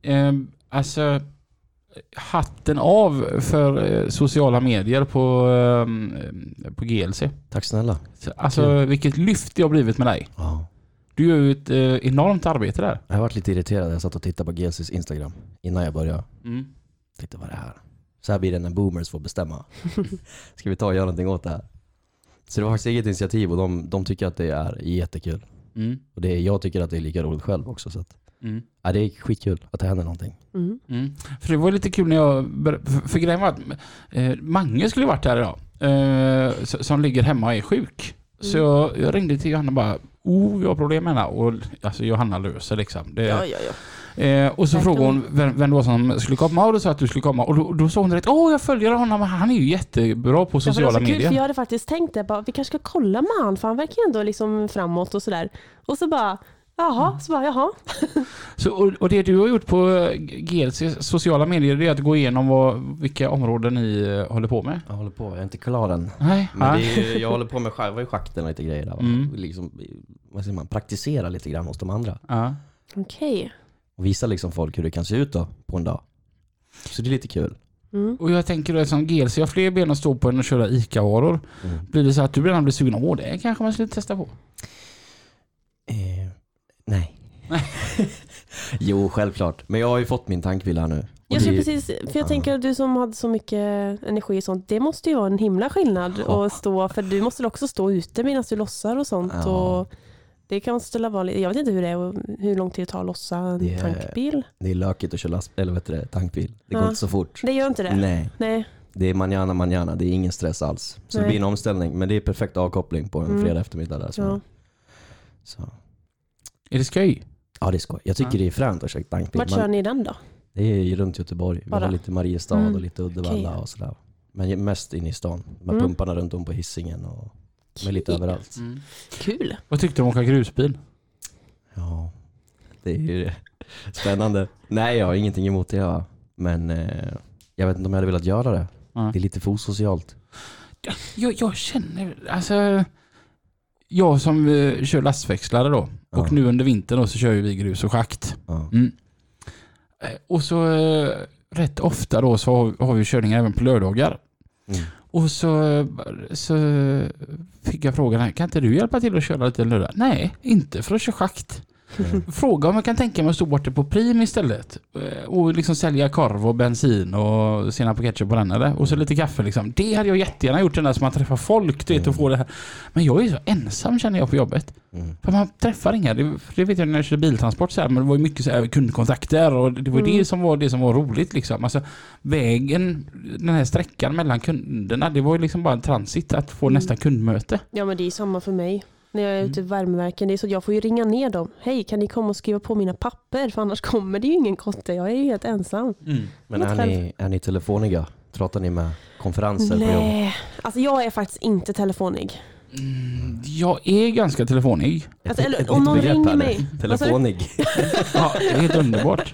Speaker 2: Ehm, alltså, hatten av för eh, sociala medier på, ehm, på GLC.
Speaker 3: Tack snälla.
Speaker 2: Så, Alltså vilket lyft det har blivit med dig.
Speaker 3: Ja.
Speaker 2: Du gör ju ett eh, enormt arbete där.
Speaker 3: Jag har varit lite irriterad. Jag satt och tittade på GLCs Instagram innan jag började.
Speaker 2: Mm.
Speaker 3: Tänkte vad är det här? Så här blir det när boomers får bestämma. Ska vi ta och göra någonting åt det här? Så det var faktiskt eget initiativ och de, de tycker att det är jättekul.
Speaker 2: Mm.
Speaker 3: Och det, jag tycker att det är lika roligt själv också. Så att,
Speaker 2: Mm.
Speaker 3: ja, det är skitkul att det händer någonting.
Speaker 1: Mm.
Speaker 2: Mm. För det var ju lite kul när jag bör- för- För grejen var att eh, Mange skulle ju varit här idag. Eh, s- som ligger hemma och är sjuk. Så
Speaker 1: Mm.
Speaker 2: jag, jag ringde till Johanna och bara Oh, jag har problem med henne. Och alltså Johanna löser liksom. Det,
Speaker 1: Ja, ja, ja.
Speaker 2: Eh, och så
Speaker 1: Verkligen.
Speaker 2: frågade hon vem, vem det var som skulle komma och då sa jag att du skulle komma och då, då sa hon direkt Åh, jag följer honom, han är ju jättebra på
Speaker 1: Ja, för det
Speaker 2: sociala
Speaker 1: var så kul,
Speaker 2: medier.
Speaker 1: alltså, för jag hade faktiskt tänkt det, bara, vi kanske ska kolla med han för han verkar ju ändå liksom framåt och sådär. Och så bara, jaha, så bara, jaha.
Speaker 2: Så, och, och det du har gjort på eh, GLC sociala medier det är att gå igenom vad, vilka områden ni eh, håller på med.
Speaker 3: Jag håller på, jag är inte klar än.
Speaker 2: Nej,
Speaker 1: Ah.
Speaker 3: Men
Speaker 2: nej.
Speaker 3: det är, ju- jag håller på med själva i schakten och lite grejer. Där, va?
Speaker 2: Mm.
Speaker 3: liksom, vad säger man, praktisera lite grann hos de andra.
Speaker 2: Ja.
Speaker 1: Okej.
Speaker 3: Och visa liksom folk hur det kan se ut då, på en dag. Så det är lite kul.
Speaker 1: Mm.
Speaker 2: Och jag tänker då eftersom GLC har fler ben att stå på än att köra ICA-varor.
Speaker 3: Mm.
Speaker 2: Blir det så att du redan blir sugen? Åh, det kanske man skulle testa på.
Speaker 3: Eh, nej. jo, självklart. Men jag har ju fått min tankbil här nu. Och
Speaker 1: Jag skulle
Speaker 3: det-
Speaker 1: precis, för jag
Speaker 3: Ja.
Speaker 1: tänker du som hade så mycket energi och sånt, det måste ju vara en himla skillnad
Speaker 3: Ja.
Speaker 1: att stå, för du måste väl också stå ute medan du lossar och sånt.
Speaker 3: Ja.
Speaker 1: Och det kan ställa vanligt, jag vet inte hur det är och hur lång tid det tar att lossa en
Speaker 3: Det är-
Speaker 1: tankbil.
Speaker 3: Det är lökigt att köra last, eller vad heter det, tankbil. Det går
Speaker 1: Ja.
Speaker 3: inte så fort.
Speaker 1: Det gör inte det.
Speaker 3: Nej,
Speaker 1: Nej.
Speaker 3: det är manjana manjana. Det är ingen stress alls. Så det
Speaker 1: Nej.
Speaker 3: blir en omställning, men det är perfekt avkoppling på en
Speaker 1: Mm.
Speaker 3: fredag eftermiddag. Där, så.
Speaker 1: Ja.
Speaker 3: Så.
Speaker 2: Är det skoj?
Speaker 3: ja, det är skoj. Jag tycker
Speaker 2: Ja.
Speaker 3: det är fränt att köra tankbil.
Speaker 1: Vart
Speaker 3: Man-
Speaker 1: kör ni den då?
Speaker 3: Det är ju runt Göteborg. Vi
Speaker 1: Bara?
Speaker 3: har lite Mariestad
Speaker 1: Mm.
Speaker 3: och lite Uddevalla
Speaker 1: Okej.
Speaker 3: och sådär. Men ju- mest inne i stan. De här
Speaker 1: Mm.
Speaker 3: pumparna runt om på hissingen och med lite
Speaker 1: Kul.
Speaker 3: överallt.
Speaker 1: Kul.
Speaker 2: Vad tyckte du om att åka grusbil?
Speaker 3: Ja, det är ju spännande. Nej, jag har ingenting emot det. Ja. Men eh, jag vet inte om jag hade velat göra det.
Speaker 2: Nej.
Speaker 3: Det är lite för osocialt.
Speaker 2: Jag, jag känner, alltså... Jag som eh, kör lastväxlare då.
Speaker 3: Ja.
Speaker 2: Och nu under vintern då så kör ju vi grus och schakt.
Speaker 3: Ja.
Speaker 2: Mm. Eh, Och så eh, rätt ofta då så har, har vi körningar även på lördagar.
Speaker 3: Mm.
Speaker 2: Och så, eh, så fick jag frågan här, kan inte du hjälpa till att köra lite lördag? Nej, inte för att köra schakt.
Speaker 3: Mm.
Speaker 2: Fråga om jag kan tänka mig att stå borta på Prim istället. Eh, Och liksom sälja korv och bensin och senap och ketchup på den eller? Och så lite kaffe liksom. Det hade jag jättegärna gjort den där som man träffar folk du vet, och
Speaker 3: Mm.
Speaker 2: får det här. Men jag är så ensam känner jag på jobbet.
Speaker 3: Mm.
Speaker 2: För man träffar inga, det, för det vet jag när jag körde biltransport så här, men det var ju mycket så här kundkontakter och det var ju
Speaker 1: Mm.
Speaker 2: det som var det som var roligt liksom. Alltså vägen, den här sträckan mellan kunderna, det var ju liksom bara en transit att få
Speaker 1: Mm.
Speaker 2: nästa kundmöte.
Speaker 1: Ja men det är samma för mig. När jag är ute i
Speaker 2: Mm.
Speaker 1: värmeverken, det är så att jag får ju ringa ner dem. Hej, kan ni komma och skriva på mina papper? För annars kommer det ju ingen kotte. Jag är ju helt ensam.
Speaker 3: Men
Speaker 1: Något
Speaker 3: är ni, är ni telefoniga? Pratar ni med konferenser på jobbet?
Speaker 1: Nej, alltså jag är faktiskt inte telefonig.
Speaker 2: Jag är ganska telefonig.
Speaker 1: Alltså,
Speaker 3: Ett-
Speaker 1: eller
Speaker 3: ett
Speaker 1: om
Speaker 3: nytt
Speaker 1: någon
Speaker 3: begrepp
Speaker 1: ringer
Speaker 3: här nu.
Speaker 1: mig.
Speaker 3: Telefonig.
Speaker 2: Ja, det är helt underbart.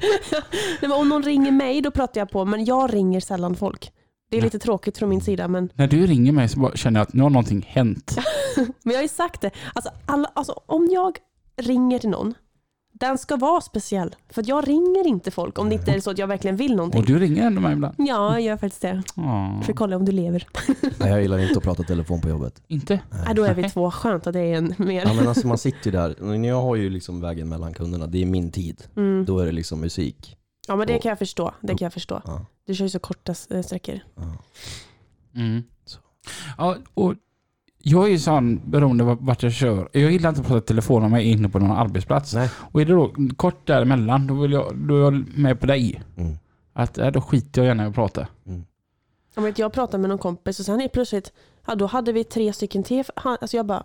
Speaker 1: Nej, men om någon ringer mig då pratar jag på, men jag ringer sällan folk. Det är
Speaker 2: Ja.
Speaker 1: lite tråkigt från min sida, men,
Speaker 2: När du ringer mig så bara känner jag att nu har någonting hänt.
Speaker 1: men jag har ju sagt det. Alltså, alla, alltså, om jag ringer till någon, den ska vara speciell. För att jag ringer inte folk om det inte är så att jag verkligen vill
Speaker 2: Och
Speaker 1: någonting.
Speaker 2: du ringer ändå mig ibland.
Speaker 1: Ja, jag gör faktiskt det.
Speaker 2: Åh,
Speaker 1: För att kolla om du lever.
Speaker 3: Nej, jag gillar inte att prata telefon på jobbet.
Speaker 2: inte?
Speaker 1: Ja, då är vi två. Skönt att det är en mer.
Speaker 3: Ja, men alltså, man sitter ju där. Jag har ju liksom vägen mellan kunderna. Det är min tid.
Speaker 1: Mm.
Speaker 3: Då är det liksom musik.
Speaker 1: Ja, men det kan jag förstå. Det kan jag förstå.
Speaker 3: Ja.
Speaker 1: Du kör ju så korta eh, sträckor.
Speaker 3: Ja.
Speaker 2: Mm.
Speaker 3: Så.
Speaker 2: Ja, och jag är ju sån beroende på vart jag kör. Jag gillar inte att prata i telefon om jag är inne på någon arbetsplats.
Speaker 3: Nej.
Speaker 2: Och är det då kort däremellan, då, vill jag, då är jag med på dig.
Speaker 3: Mm.
Speaker 2: Att äh, då skiter jag gärna i att prata.
Speaker 1: Jag, vet, jag pratade med någon kompis och sen helt plötsligt, ja, då hade vi tre stycken till. Han- Alltså jag bara,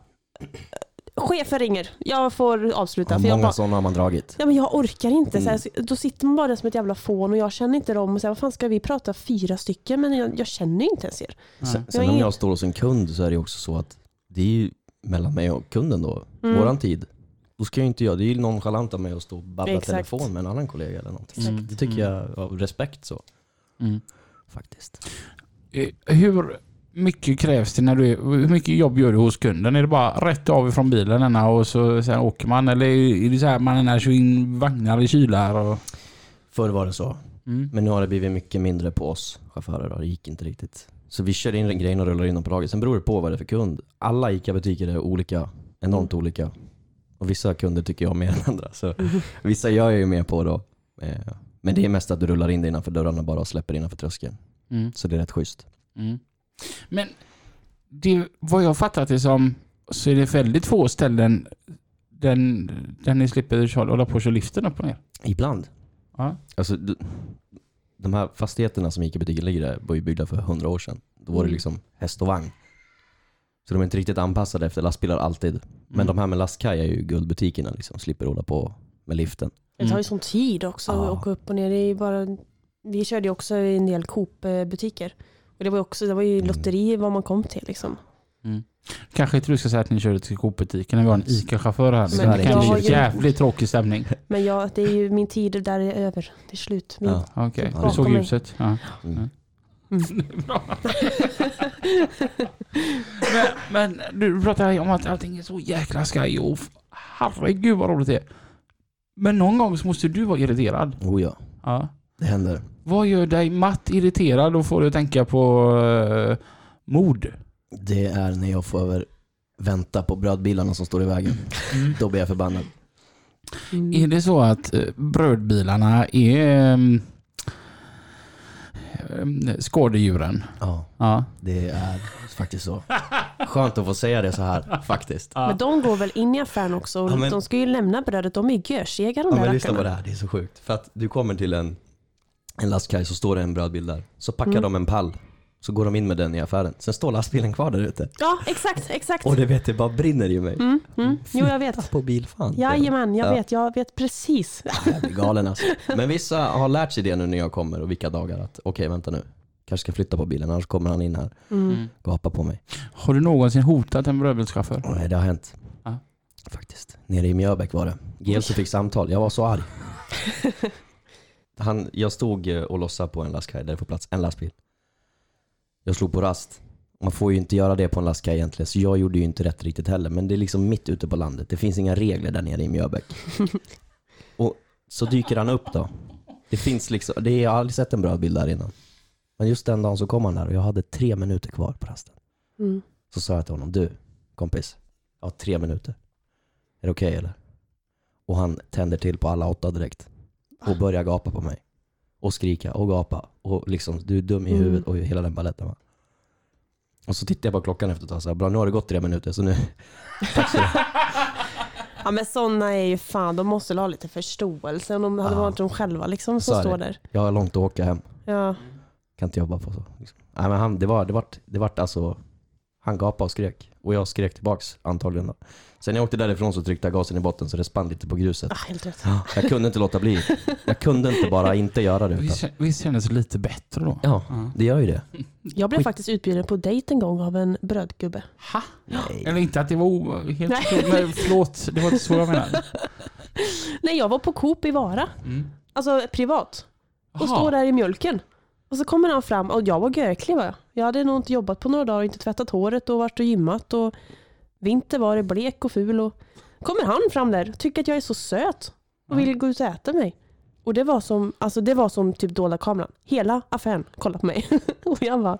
Speaker 1: Chefen ringer. Jag får avsluta.
Speaker 3: Ja,
Speaker 1: för jag,
Speaker 3: många
Speaker 1: bara,
Speaker 3: sådana har man dragit.
Speaker 1: ja, men jag orkar inte.
Speaker 3: Mm.
Speaker 1: Så här, då sitter man bara där som ett jävla fån och jag känner inte dem. Och så här, vad fan ska vi prata fyra stycken? Men jag, jag känner ju inte ens er.
Speaker 2: Nej.
Speaker 3: Sen, sen
Speaker 1: Jag är-
Speaker 3: om jag står hos en kund så är det ju också så att det är ju mellan mig och kunden då,
Speaker 1: Mm.
Speaker 3: våran tid. Då ska ju inte jag, det är ju nonchalant av mig att stå och babbla
Speaker 1: Exakt.
Speaker 3: telefon med en annan kollega eller någonting.
Speaker 2: Mm,
Speaker 3: Det tycker
Speaker 2: mm.
Speaker 3: jag av respekt så
Speaker 2: Mm.
Speaker 3: faktiskt.
Speaker 2: Eh, Hur mycket krävs det när du är, hur mycket jobb gör du hos kunden? Är det bara rätt av ifrån bilen ena och så sen åker man? Eller är det så här man ena kör in vagnar i kylar? Och...
Speaker 3: Förr var det så,
Speaker 2: Mm.
Speaker 3: men nu har det blivit mycket mindre på oss chaufförer då. Det gick inte riktigt. Så vi kör in grejen och rullar in dem på lager. Sen beror det på vad det är för kund. Alla ICA-butiker är olika,
Speaker 2: Mm.
Speaker 3: enormt olika. Och vissa kunder tycker jag om mer än andra. Så vissa gör jag ju mer på då. Eh, Men det är mest att du rullar in det innanför dörrarna bara och släpper innanför tröskeln.
Speaker 2: Mm.
Speaker 3: Så det är rätt schysst.
Speaker 2: Mm. Men det, vad jag fattat det som så är det väldigt få ställen den, den ni slipper köra- hålla på och köra liften upp och ner.
Speaker 3: Ibland.
Speaker 2: Ja.
Speaker 3: Alltså, du, de här fastigheterna som ICA-butiken ligger i var ju byggda för hundra år sedan. Då var det
Speaker 1: Mm.
Speaker 3: liksom häst och vagn. Så de är inte riktigt anpassade efter lastbilar alltid. Men
Speaker 2: Mm.
Speaker 3: de här med lastkaj är ju guldbutikerna liksom. Slipper hålla på med liften.
Speaker 1: Det tar ju sån tid också
Speaker 3: Mm. Ja.
Speaker 1: att åka upp och ner. Det är ju bara, vi körde ju också i en del Coop-butiker. Och det var ju också det var ju
Speaker 3: Mm.
Speaker 1: lotteri vad man kom till. Liksom.
Speaker 2: Kanske inte du ska säga att ni körde till Coop-butiken när vi har en ICA-chaufför här.
Speaker 3: Men
Speaker 2: det kan
Speaker 3: jag har
Speaker 2: bli
Speaker 1: ju-
Speaker 2: jävligt tråkig stämning.
Speaker 1: Men jag, det är ju min tid där är över. Det är slut. Min,
Speaker 3: Ja.
Speaker 2: Okej,
Speaker 3: Ja,
Speaker 2: du
Speaker 3: det-
Speaker 2: såg ljuset. Ja.
Speaker 3: Mm.
Speaker 2: Men, men du pratar om att allting är så jäkla skaj och f- herregud vad roligt det är. Men någon gång så måste du vara irriterad.
Speaker 3: Oh ja,
Speaker 2: Ja.
Speaker 3: det händer.
Speaker 2: Vad gör dig matt irriterad? Då får du tänka på eh, mod.
Speaker 3: Det är när jag får över vänta på brödbilarna som står i vägen. Då blir jag förbannad.
Speaker 1: Mm.
Speaker 2: Är det så att eh, brödbilarna är um, ehm, skadedjuren?
Speaker 3: Ja,
Speaker 2: Ja.
Speaker 3: det är faktiskt så. Skönt att få säga det så här faktiskt.
Speaker 1: Men de går väl in i affären också. Och
Speaker 3: Ja, men-
Speaker 1: De ska ju lämna brödet. De är ju görsega de
Speaker 3: Ja,
Speaker 1: där
Speaker 3: men lyssna
Speaker 1: rackarna.
Speaker 3: på det här, det är så sjukt. För att du kommer till en, en lastkaj så står det en brödbil där. Så packar
Speaker 1: Mm.
Speaker 3: de en pall. Så går de in med den i affären. Sen står lastbilen kvar där ute.
Speaker 1: Ja, exakt. exakt.
Speaker 3: Och det vet jag bara brinner i mig.
Speaker 1: Mm, mm. Jo, jag vet.
Speaker 3: På bilfan.
Speaker 1: Jajamän, jag
Speaker 3: Ja.
Speaker 1: vet. Jag vet precis.
Speaker 3: Jag blir galen alltså. Men vissa har lärt sig det nu när jag kommer och vilka dagar att okej vänta nu. Kanske ska flytta på bilen annars kommer han in här.
Speaker 1: Mm.
Speaker 3: Gapa på mig.
Speaker 2: Har du någonsin hotat en brödbilschaufför?
Speaker 3: Nej det har hänt.
Speaker 2: Ja.
Speaker 3: Faktiskt. Nere i Mjöbäck var det. Gelso fick samtal. Jag var så arg. Han, jag stod eh, och lossade på en lastkaj där det får plats en lastbil. Jag slog på rast. Man får ju inte göra det på en lastkaj egentligen så jag gjorde ju inte rätt riktigt heller. Men det är liksom mitt ute på landet. Det finns inga regler där nere i Mjöbäck. och så dyker han upp då. Det finns liksom, det, jag har aldrig sett en bra bild där innan. Men just den dagen så kom han där och jag hade tre minuter kvar på rasten.
Speaker 1: Mm.
Speaker 3: Så sa jag till honom, du kompis, jag har tre minuter. Är det okej eller? Och han tänder till på alla åtta direkt. Och börjar gapa på mig. Och skrika och gapa. Och liksom, du är dum i
Speaker 1: Mm.
Speaker 3: huvudet och hela den baletten va. Och så tittar jag på klockan efter ett tag så här, bra nu har det gått tre minuter så nu... Tack så mycket.
Speaker 1: Ja, men sådana är ju fan. De måste väl ha lite förståelse. Om de hade
Speaker 3: Ja.
Speaker 1: varit de själva liksom, som
Speaker 3: Så är det.
Speaker 1: står där.
Speaker 3: Jag har långt att åka hem.
Speaker 1: Ja.
Speaker 3: Kan inte jobba på så. Liksom. Nej men han, det var, det vart, det vart alltså... Han gapade och skrek. Och jag skrek tillbaks antagligen då. Sen när jag åkte därifrån så tryckte jag gasen i botten så det spann lite på gruset.
Speaker 1: Ah, helt rätt.
Speaker 3: Jag kunde inte låta bli. Jag kunde inte bara inte göra det. Utan.
Speaker 2: Visst, visst kändes det lite bättre då?
Speaker 3: Ja, det gör ju det.
Speaker 1: Jag blev faktiskt utbjuden på dejt en gång av en brödgubbe.
Speaker 2: Ha? Eller inte att det var o- helt
Speaker 1: Nej.
Speaker 2: fel, men förlåt, det var inte så jag menade.
Speaker 1: Nej, jag var på Coop i Vara.
Speaker 2: Mm.
Speaker 1: Alltså privat. Och
Speaker 2: Aha.
Speaker 1: står där i mjölken. Och så kommer han fram och jag var görklig va? Jag hade nog inte jobbat på några dagar och inte tvättat håret och varit och gymmat och vinter var det blek och ful och kommer han fram där och tycker att jag är så söt och vill gå ut och äta mig. Och det var som, alltså det var som typ dolda kameran. Hela affären kollade på mig. och jag bara,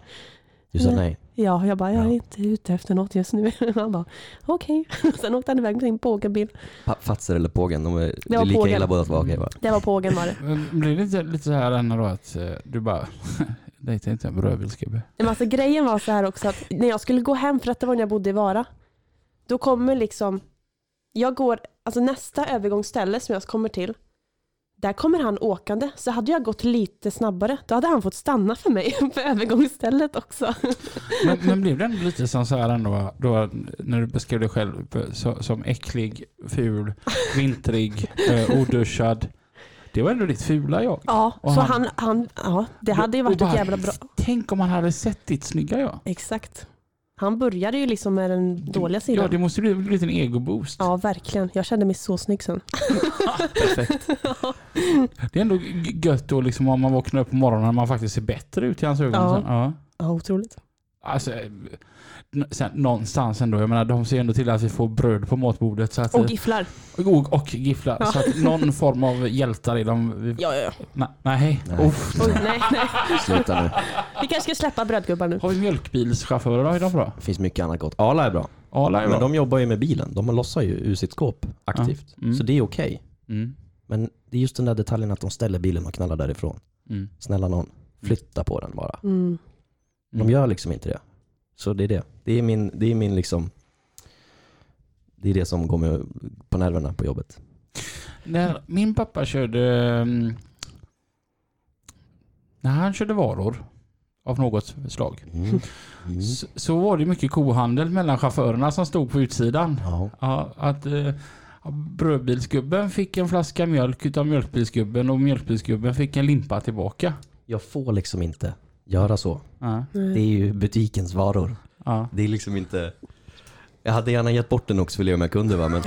Speaker 3: Du sa nej.
Speaker 1: ja, jag bara, jag är
Speaker 3: Ja.
Speaker 1: inte ute efter något just nu. han bara, okej. Sen åkte han iväg med sin pågenbil.
Speaker 3: Pa- Fatser eller Pågen, de är, det
Speaker 1: var
Speaker 3: är lika
Speaker 1: Pågen.
Speaker 3: illa båda två. Okej, va?
Speaker 1: Det var pågen var det.
Speaker 2: Men Blir det inte lite så här ändå då att eh, du bara, dejta inte en brödbilsgubbe.
Speaker 1: Nej, men alltså, grejen var så här också att när jag skulle gå hem, för att det var när jag bodde i Vara, då kommer liksom, jag går, alltså nästa övergångsställe som jag kommer till, där kommer han åkande. Så hade jag gått lite snabbare, då hade han fått stanna för mig på övergångsstället också.
Speaker 2: Men, men blev det ändå lite som så här ändå, då, när du beskrev dig själv så, som äcklig, ful, vintrig, eh, oduschad. Det var ändå ditt fula jag.
Speaker 1: Ja,
Speaker 2: Och
Speaker 1: så
Speaker 2: han-
Speaker 1: han, han, ja, det hade ju
Speaker 2: Och
Speaker 1: varit
Speaker 2: bara,
Speaker 1: ett jävla bra...
Speaker 2: Tänk om han hade sett ditt snygga jag.
Speaker 1: Exakt. Han började ju liksom med den dåliga
Speaker 2: Ja,
Speaker 1: sidan.
Speaker 2: det måste bli en liten egoboost.
Speaker 1: Ja, verkligen. Jag kände mig så snygg sen.
Speaker 3: Perfekt.
Speaker 2: Det är ändå g- gött då liksom om man vaknar upp på morgonen och man faktiskt ser bättre ut i hans ögon.
Speaker 1: Ja.
Speaker 2: Sen, ja.
Speaker 1: Ja, otroligt.
Speaker 2: Alltså, eh, n- sen, någonstans ändå. Jag menar, de ser ändå till att vi får bröd på matbordet. Så att,
Speaker 1: Och gifflar.
Speaker 2: och, och gifflar. Så att någon form av hjältar i dem. Vi,
Speaker 1: Ja, ja, ja.
Speaker 2: Nej. nej.
Speaker 3: Nej.
Speaker 2: Uff.
Speaker 1: Oj, nej, nej.
Speaker 3: Sluta nu.
Speaker 1: Vi kanske ska släppa brödgubbar nu.
Speaker 2: Har vi mjölkbilschaufförer då? Är de bra?
Speaker 3: Det finns mycket annat gott. Arla är bra.
Speaker 2: Arla är bra.
Speaker 3: Men de jobbar ju med bilen. De lossar ju ur sitt skåp aktivt.
Speaker 2: Ja. Mm.
Speaker 3: Så det är okej.
Speaker 2: Mm.
Speaker 3: Men det är just den där detaljen att de ställer bilen och knallar därifrån.
Speaker 2: Mm.
Speaker 3: Snälla någon, flytta på den bara.
Speaker 1: Mm.
Speaker 2: Mm.
Speaker 3: De gör liksom inte det. Så det är det. Det är min, det är min liksom... Det är det som går mig på nerverna på jobbet.
Speaker 2: När min pappa körde... mm, När han körde varor av något slag
Speaker 3: Mm. Mm.
Speaker 2: så, så var det mycket kohandel mellan chaufförerna som stod på utsidan.
Speaker 3: Ja.
Speaker 2: Ja, att eh, brödbilsgubben fick en flaska mjölk utav mjölkbilsgubben och mjölkbilsgubben fick en limpa tillbaka.
Speaker 3: Jag får liksom inte göra så.
Speaker 2: Ja,
Speaker 3: Det är ju butikens varor.
Speaker 2: ja.
Speaker 3: Det är liksom inte... Jag hade gärna gett bort den också vill jag om jag kunde va, men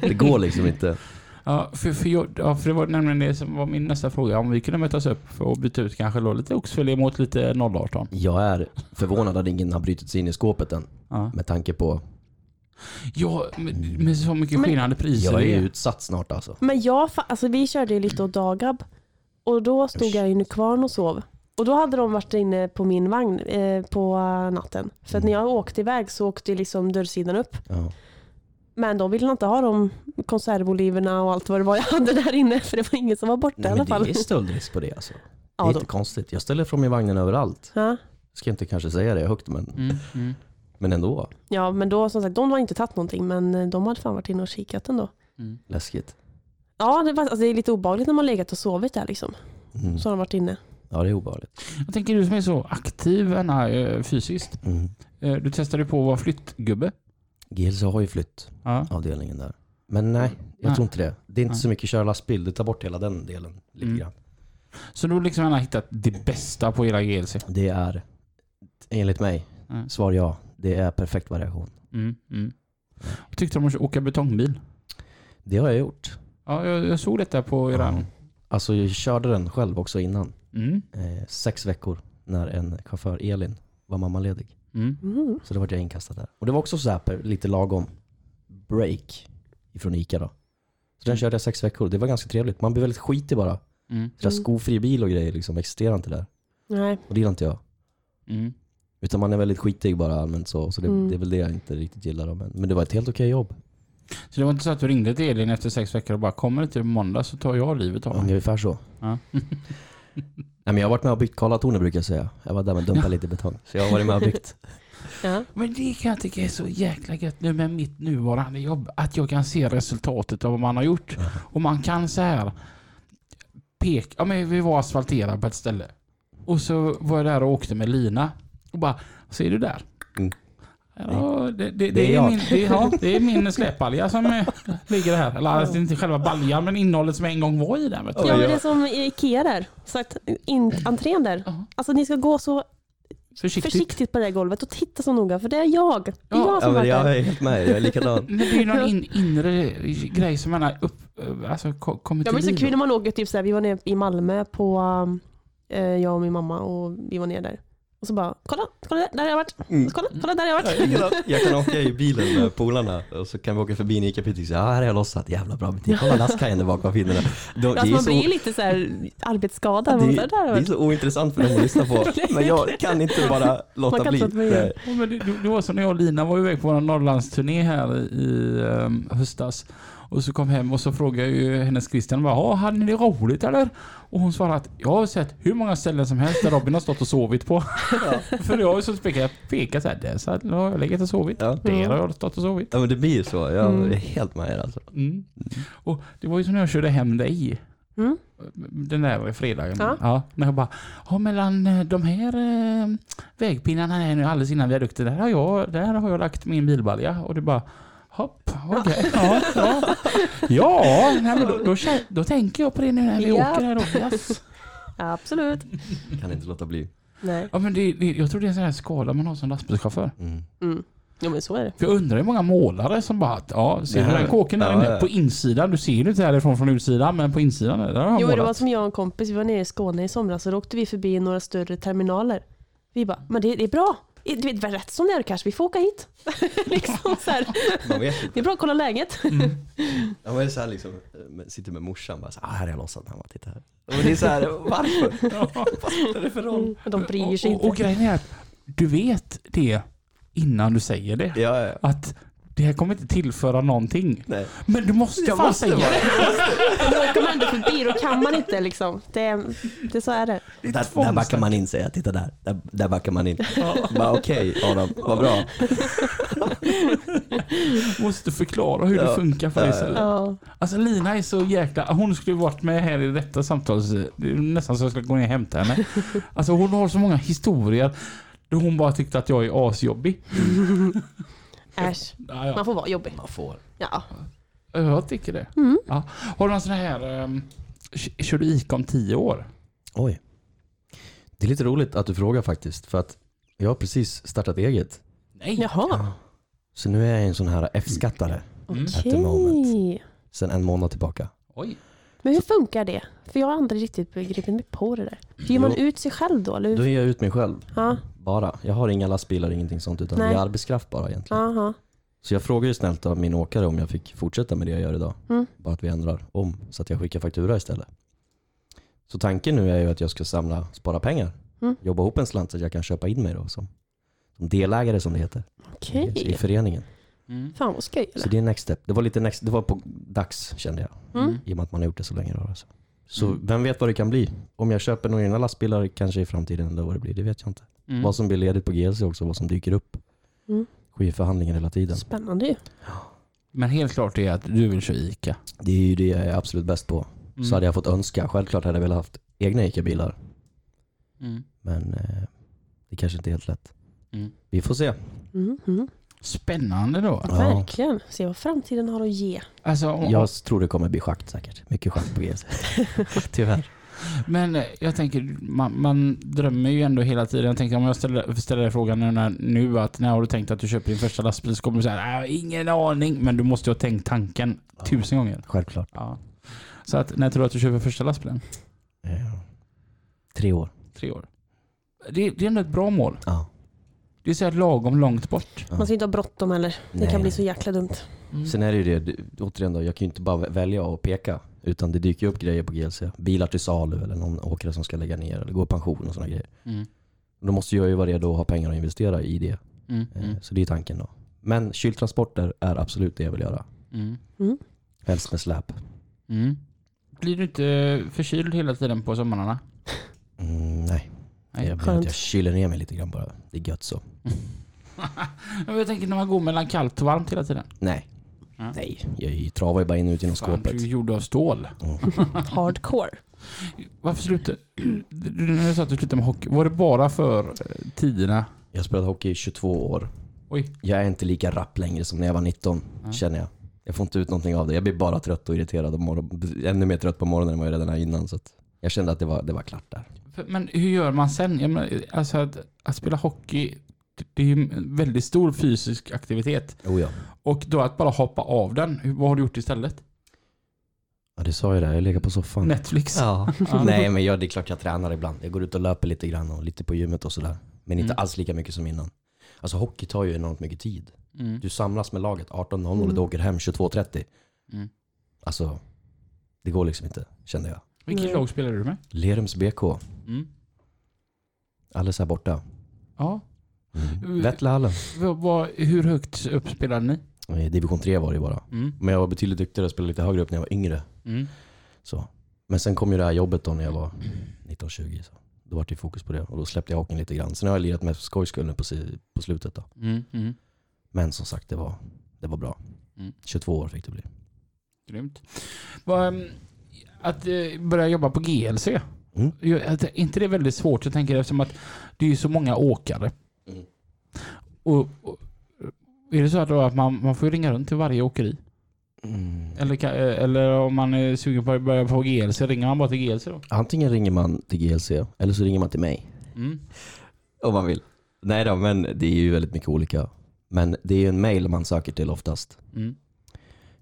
Speaker 3: det går liksom inte.
Speaker 2: Ja, för, för, jag, ja, för det var nämligen det som var min nästa fråga. Om vi kunde mötas upp för att byta ut kanske då lite oxfilé mot lite 018.
Speaker 3: Jag är förvånad att ingen har brutit sig in i skåpet än.
Speaker 2: Ja,
Speaker 3: Med tanke på...
Speaker 2: ja men, men så mycket
Speaker 1: Men-
Speaker 2: skenande priser.
Speaker 3: Jag är
Speaker 2: det
Speaker 3: ju utsatt snart alltså.
Speaker 1: Men jag, fa- alltså vi körde ju lite åt Dagab och då stod jag i Nykvarn och sov. Och då hade de varit inne på min vagn eh, på eh, natten. För att när jag åkte iväg så åkte ju liksom dörrsidan upp.
Speaker 3: Ja.
Speaker 1: Men de ville inte ha de konservoliverna och allt vad det var jag hade där inne. För det var ingen som var borta
Speaker 3: Nej,
Speaker 1: i
Speaker 3: men
Speaker 1: alla fall.
Speaker 3: det är stöldrisk på det alltså. Det är
Speaker 1: ja,
Speaker 3: inte
Speaker 1: då.
Speaker 3: konstigt. Jag ställer från mig vagnen överallt.
Speaker 1: Ja.
Speaker 3: Ska inte kanske säga det högt men,
Speaker 2: Mm, mm,
Speaker 3: men ändå.
Speaker 1: ja, men då som sagt, de har inte tagit någonting men eh, de hade fan varit inne och kikat ändå.
Speaker 2: mm.
Speaker 3: Läskigt.
Speaker 1: Ja, det, var, alltså, det är lite obehagligt när man legat och sovit där liksom.
Speaker 3: Mm.
Speaker 1: Så har de varit inne.
Speaker 3: Ja det är obehagligt.
Speaker 2: Jag tänker du som är så aktiv Anna, eh, fysiskt.
Speaker 3: Mm.
Speaker 2: Eh, Du testade ju på att vara flyttgubbe.
Speaker 3: GLC har ju flyttavdelningen
Speaker 2: Ja.
Speaker 3: där. Men nej, jag
Speaker 2: Nej.
Speaker 3: tror inte det. Det är inte
Speaker 2: Nej.
Speaker 3: så mycket köra lastbil. Det tar bort hela den delen lite
Speaker 2: Mm.
Speaker 3: grann.
Speaker 2: Så du har liksom Anna hittat det bästa på hela GLC.
Speaker 3: Det är, enligt mig,
Speaker 2: Mm.
Speaker 3: svar ja. Det är perfekt variation.
Speaker 2: Mm, mm. Vad tyckte du om att åka betongbil?
Speaker 3: Det har jag gjort.
Speaker 2: Ja, jag, jag såg detta på eran...
Speaker 3: Alltså jag körde den själv också innan.
Speaker 2: Mm,
Speaker 3: Eh, sex veckor när en chaufför, Elin, var mammaledig.
Speaker 2: mm,
Speaker 1: Mm.
Speaker 3: Så då vart jag inkastad där. Och det var också så här per- lite lagom break ifrån ICA då. Så
Speaker 1: Mm.
Speaker 3: den körde jag sex veckor. Det var ganska trevligt. Man blir väldigt skitig bara.
Speaker 2: mm,
Speaker 3: Så där
Speaker 1: Mm.
Speaker 3: skofri bil och grejer liksom existerar inte där.
Speaker 1: Nej.
Speaker 3: Och det gillar inte jag.
Speaker 2: mm.
Speaker 3: Utan man är väldigt skitig bara allmänt så. Så det,
Speaker 1: Mm.
Speaker 3: det är väl det jag inte riktigt gillar. Då. Men, men det var ett helt okej jobb.
Speaker 2: Så det var inte så att du ringde till Elin efter sex veckor och bara kommer inte på måndag så tar jag livet av mig.
Speaker 3: Ungefär så.
Speaker 2: Ja.
Speaker 3: Nej, men jag har varit med och byggt Karlatornet brukar jag säga. Jag var där med dumpa lite betong. Så jag har varit med och byggt.
Speaker 1: Ja.
Speaker 2: Men det kan jag tycka är så jäkla gött nu med mitt nuvarande jobb. Att jag kan se resultatet av vad man har gjort. Och man kan så här peka. Ja, men vi var asfalterade på ett ställe. Och så var jag där och åkte med lina. Och bara, ser du där?
Speaker 3: Mm.
Speaker 2: Ja, det, det,
Speaker 3: Det är
Speaker 2: det, är
Speaker 3: jag.
Speaker 2: min, det, är- ja, det är min släpbalja som eh, ligger här. Eller alltså, det är inte själva baljan men innehållet som en gång var i den. Vet du.
Speaker 1: Ja, men det är som i Ikea där. Så att in, entrén där.
Speaker 2: Ja.
Speaker 1: Alltså ni ska gå så
Speaker 2: Försiktigt.
Speaker 1: försiktigt på det där golvet och titta så noga för det är jag. Det är
Speaker 2: Ja,
Speaker 1: jag som
Speaker 3: Ja, men
Speaker 1: har varit
Speaker 3: jag
Speaker 1: där.
Speaker 3: är helt med. Jag är likadan.
Speaker 2: Men det är ju någon in, inre grej som man har upp, alltså, ko- kommit
Speaker 1: Jag blir
Speaker 2: till
Speaker 1: så
Speaker 2: liv.
Speaker 1: kul när man åker, typ såhär, vi var nere i Malmö på, eh, jag och min mamma och vi var nere där. Och så bara, kolla, kolla där, där har jag varit. Kolla, kolla där har jag
Speaker 3: Mm. Ja,
Speaker 1: varit.
Speaker 3: Jag kan, jag kan åka i bilen med polarna och så kan vi åka förbi en ICA-butik och säga ah, här har jag lossat, jävla bra butik, kolla lastkajen där bakom, vad fin den är. De, det,
Speaker 1: Alltså
Speaker 3: är
Speaker 1: man
Speaker 3: så,
Speaker 1: blir
Speaker 3: det,
Speaker 1: lite såhär arbetsskadad. Man bara, där har jag
Speaker 3: är- det är
Speaker 1: varit.
Speaker 3: så ointressant för dem att lyssna på, men jag kan inte bara låta
Speaker 1: Man kan
Speaker 3: bli.
Speaker 1: inte låta bli.
Speaker 3: Nej.
Speaker 2: Ja, men det, det var som när jag och Lina var iväg på vår Norrlandsturné här i ehm, höstas. Och så kom hem och så frågade jag ju hennes Christian bara, "Ja, hade ni det roligt eller? Och hon svarade att jag har sett hur många ställen som helst där Robin har stått och sovit på. För jag har ju så pekat, pekat så här, där så här, har jag legat och sovit.
Speaker 3: Ja.
Speaker 1: Mm.
Speaker 2: Där har jag stått och sovit.
Speaker 3: Ja, men det blir ju så, jag är helt med er alltså.
Speaker 2: Mm. Och det var ju som när jag körde hem dig.
Speaker 1: Mm.
Speaker 2: Den där var ju fredagen.
Speaker 1: Ja.
Speaker 2: när jag bara, ja mellan eh, de här eh, vägpinnarna här nu alldeles innan viadukten, där har jag, där har jag lagt min bilbalja. Och det bara, hopp, okej. Ja, ja. ja nej, men då, då, kä- då tänker jag på det nu när vi
Speaker 1: Ja.
Speaker 2: åker här då. Yes.
Speaker 1: Absolut.
Speaker 3: Kan inte låta bli.
Speaker 1: Nej.
Speaker 2: Ja, men det, det, jag tror det är en sån här skala man har som lastbilschaufför.
Speaker 3: Mm.
Speaker 1: Mm. Jo men så är det.
Speaker 2: För jag undrar hur många målare som bara, ja, ser du
Speaker 3: Det här-
Speaker 2: den kåken där
Speaker 3: ja,
Speaker 2: inne?
Speaker 3: ja.
Speaker 2: På insidan, du ser ju inte härifrån från utsidan, men på insidan där har han
Speaker 1: Jo, det var
Speaker 2: målat.
Speaker 1: som jag och en kompis, vi var nere i Skåne i somras och då åkte vi förbi några större terminaler. Vi bara, men det, det är bra. Det det var rätt som det är kanske, vi får åka hit. liksom så här.
Speaker 3: Man vet inte.
Speaker 1: Det är bra att kolla läget.
Speaker 3: Ja, men det är så här liksom, eh, men sitter med morsan bara så här, ah, här har jag lossat den, bara, titta här. Och det är så här, varför? Vad spelar det för roll?
Speaker 1: De bryr sig
Speaker 2: och, och, och
Speaker 1: inte.
Speaker 2: grejen är att du vet det innan du säger det.
Speaker 3: Ja, ja, ja.
Speaker 2: Att det här kommer inte tillföra någonting.
Speaker 3: Nej.
Speaker 2: Men du måste
Speaker 3: Jag
Speaker 2: fan
Speaker 3: måste
Speaker 2: säga
Speaker 3: bara-
Speaker 2: det.
Speaker 1: Men då åker man ändå förbi, då kan man inte liksom. Det, är- det så är det.
Speaker 2: Det är ett
Speaker 3: Där, där backar
Speaker 2: tvångstanke.
Speaker 3: man in säger jag, titta där. Där, där backar man in. Bara okej Adam, vad bra.
Speaker 2: måste förklara hur det
Speaker 3: Ja.
Speaker 2: funkar för dig
Speaker 3: Ja, ja.
Speaker 2: själv.
Speaker 1: Ja.
Speaker 2: Alltså Lina är så jäkla... Hon skulle varit med här i detta samtal. så Det är nästan så jag skulle gå ner och hämta henne. Alltså hon har så många historier. Då hon bara tyckte att jag är asjobbig.
Speaker 1: Äsch,
Speaker 2: Ja, ja.
Speaker 1: man får vara jobbig.
Speaker 3: Man får.
Speaker 1: Ja.
Speaker 2: Jag tycker det.
Speaker 1: Mm.
Speaker 2: Ja. Har du någon sån här... ehm, k- kör du ICA om tio år?
Speaker 3: Oj. Det är lite roligt att du frågar faktiskt. För att jag har precis startat eget.
Speaker 2: Nej.
Speaker 1: Jaha,
Speaker 3: Så nu är jag en sån här F-skattare
Speaker 2: Mm.
Speaker 3: At
Speaker 1: okej.
Speaker 3: the moment. sedan en månad tillbaka.
Speaker 2: Oj.
Speaker 1: Men hur funkar det? För jag har aldrig riktigt begripit mig på det där. Hyr man
Speaker 3: Jo.
Speaker 1: ut sig själv då? Eller?
Speaker 3: Då
Speaker 1: hur?
Speaker 3: är jag ut mig själv.
Speaker 1: Ja,
Speaker 3: Bara. Jag har inga lastbilar, ingenting sånt. Utan
Speaker 1: Nej.
Speaker 3: jag är arbetskraft bara egentligen.
Speaker 1: aha.
Speaker 3: Så jag frågade ju snällt av min åkare om jag fick fortsätta med det jag gör idag.
Speaker 1: Mm.
Speaker 3: Bara att vi ändrar om så att jag skickar faktura istället. Så tanken nu är ju att jag ska samla, spara pengar.
Speaker 1: Mm.
Speaker 3: Jobba ihop en slant så att jag kan köpa in mig då som, som delägare som det heter
Speaker 1: Okej.
Speaker 3: i föreningen.
Speaker 2: Mm.
Speaker 1: Fan vad skoj. typ, eller?
Speaker 3: Så det är next step. Det var lite next, det var på dags kände jag.
Speaker 1: Mm.
Speaker 3: I och med att man har gjort det så länge. Då, alltså. Så
Speaker 2: Mm.
Speaker 3: vem vet vad det kan bli? Om jag köper några egna lastbilar kanske i framtiden eller vad det blir, det vet jag inte.
Speaker 2: Mm.
Speaker 3: Vad som blir ledigt på GLC också, vad som dyker upp.
Speaker 1: Mm.
Speaker 3: Sker ju förhandlingar hela tiden.
Speaker 1: Spännande ju.
Speaker 2: Men helt klart är att du vill köra ICA.
Speaker 3: Det är ju det jag är absolut bäst på.
Speaker 2: Mm.
Speaker 3: så hade jag fått önska. Självklart hade jag velat haft egna ICA-bilar,
Speaker 2: Mm.
Speaker 3: men eh, det kanske inte är helt lätt.
Speaker 2: Mm.
Speaker 3: Vi får se.
Speaker 1: Mhm.
Speaker 2: Spännande då.
Speaker 3: Ja.
Speaker 1: Verkligen. Se vad framtiden har att ge.
Speaker 2: Alltså, om,
Speaker 3: Jag tror det kommer bli schakt säkert. Mycket schakt på GS. Tyvärr.
Speaker 2: Men eh, jag tänker, man, man drömmer ju ändå hela tiden. Jag tänker om jag ställer, ställer dig frågan nu, när, nu att när har du tänkt att du köper din första lastbil så kommer du säga "Nej, jag har ingen aning. Men du måste ju ha tänkt tanken tusen gånger.
Speaker 3: Självklart.
Speaker 2: Ja. Så att, när tror du att du köper första lastbilen?
Speaker 3: Ja. Eh, Tre år.
Speaker 2: Tre år. Det, det är ändå ett bra mål.
Speaker 3: Ja.
Speaker 2: Det är så här lagom långt bort.
Speaker 1: Man ska inte ha bråttom heller. Det
Speaker 3: Nej.
Speaker 1: kan bli så jäkla dumt.
Speaker 2: Mm.
Speaker 3: Sen är det ju det, det- återigen då, jag kan ju inte bara välja och peka. Utan det dyker ju upp grejer på GLC. Bilar till salu eller någon åkare som ska lägga ner eller gå i pension och sådana grejer.
Speaker 2: Mm.
Speaker 3: Då måste jag ju vara redo och ha pengar att investera i det.
Speaker 2: Mm.
Speaker 3: Eh,
Speaker 2: Mm.
Speaker 3: Så det är tanken då. Men kyltransporter är absolut det jag vill göra.
Speaker 2: Mm.
Speaker 3: Helst med släp.
Speaker 2: Mm. Blir du inte förkyld hela tiden på somrarna?
Speaker 3: Mm, nej.
Speaker 2: Nej.
Speaker 3: Jag, blir
Speaker 1: Skönt.
Speaker 3: att jag kyler ner mig lite grann bara. Det är gött så.
Speaker 2: Men Jag tänker när man går mellan kallt och varmt hela tiden.
Speaker 3: Nej.
Speaker 2: Ja.
Speaker 3: Nej, jag travar ju bara in ut genom
Speaker 2: Fan, du är
Speaker 3: skåpet.
Speaker 2: ju gjord av stål.
Speaker 3: Mm.
Speaker 1: Hardcore.
Speaker 2: Varför slutade du? När du sa att du slutade med hockey, var det bara för eh, tiderna?
Speaker 3: Jag har spelat hockey i 22 år.
Speaker 2: Oj.
Speaker 3: Jag är inte lika rapp längre som när jag var 19,
Speaker 2: Nej.
Speaker 3: känner jag. Jag får inte ut någonting av det. Jag blir bara trött och irriterad. Och morgon, ännu mer trött på morgonen än vad jag redan är innan. Så att jag kände att det var, det var klart där.
Speaker 2: För- Men hur gör man sen? Jag menar, alltså att, att spela hockey, det- det är ju en väldigt stor fysisk aktivitet.
Speaker 3: Oh ja.
Speaker 2: Och då att bara hoppa av den, hur- vad har du gjort istället?
Speaker 3: ja, du sa ju det. Jag ligger på soffan.
Speaker 2: Netflix?
Speaker 3: Ja.
Speaker 2: Ja.
Speaker 3: Nej, men jag, det är klart jag tränar ibland. Jag går ut och löper lite grann och lite på gymmet och sådär. Men inte
Speaker 2: Mm.
Speaker 3: alls lika mycket som innan. Alltså hockey tar ju enormt mycket tid.
Speaker 2: Mm.
Speaker 3: Du samlas med laget 18.00 och
Speaker 1: Mm.
Speaker 3: du åker hem 22.30.
Speaker 2: Mm.
Speaker 3: Alltså, det går liksom inte, kände jag.
Speaker 2: Vilket
Speaker 1: Nej.
Speaker 2: lag spelar du med?
Speaker 3: Lerums BK,
Speaker 2: Mm.
Speaker 3: alldeles här borta.
Speaker 2: Ja.
Speaker 3: Mm. Vettlahallen.
Speaker 2: Vad- vad- hur högt upp spelade ni?
Speaker 3: Eh, Division 3 var det ju bara.
Speaker 2: Mm.
Speaker 3: Men jag var betydligt duktigare och spelade lite högre upp när jag var yngre.
Speaker 2: Mm.
Speaker 3: Så. Men sen kom ju det här jobbet då när jag var 19-20. Så. Då var det ju fokus på det och då släppte jag hockeyn lite grann. Sen har jag lirat med för skojs skull nu på, si- på slutet då.
Speaker 2: Mm. Mm.
Speaker 3: Men som sagt, det var, det var bra.
Speaker 2: Mm.
Speaker 3: 22 år fick det bli.
Speaker 2: Grymt. Vad, ehm, Att eh, börja jobba på GLC.
Speaker 3: Mm.
Speaker 2: Ju- Att, är inte det är väldigt svårt? Jag tänker eftersom att det är ju så många åkare.
Speaker 3: Mm.
Speaker 2: Och, och, är det så att, då att man, man får ju ringa runt till varje åkeri? Eller, ka- eh, eller om man är sugen på att börja på GLC, ringer man bara till GLC då?
Speaker 3: Antingen ringer man till GLC eller så ringer man till mig.
Speaker 2: Mm.
Speaker 3: Om man vill. Nej då, men det är ju väldigt mycket olika. Men det är ju en mail man söker till oftast.
Speaker 2: Mm.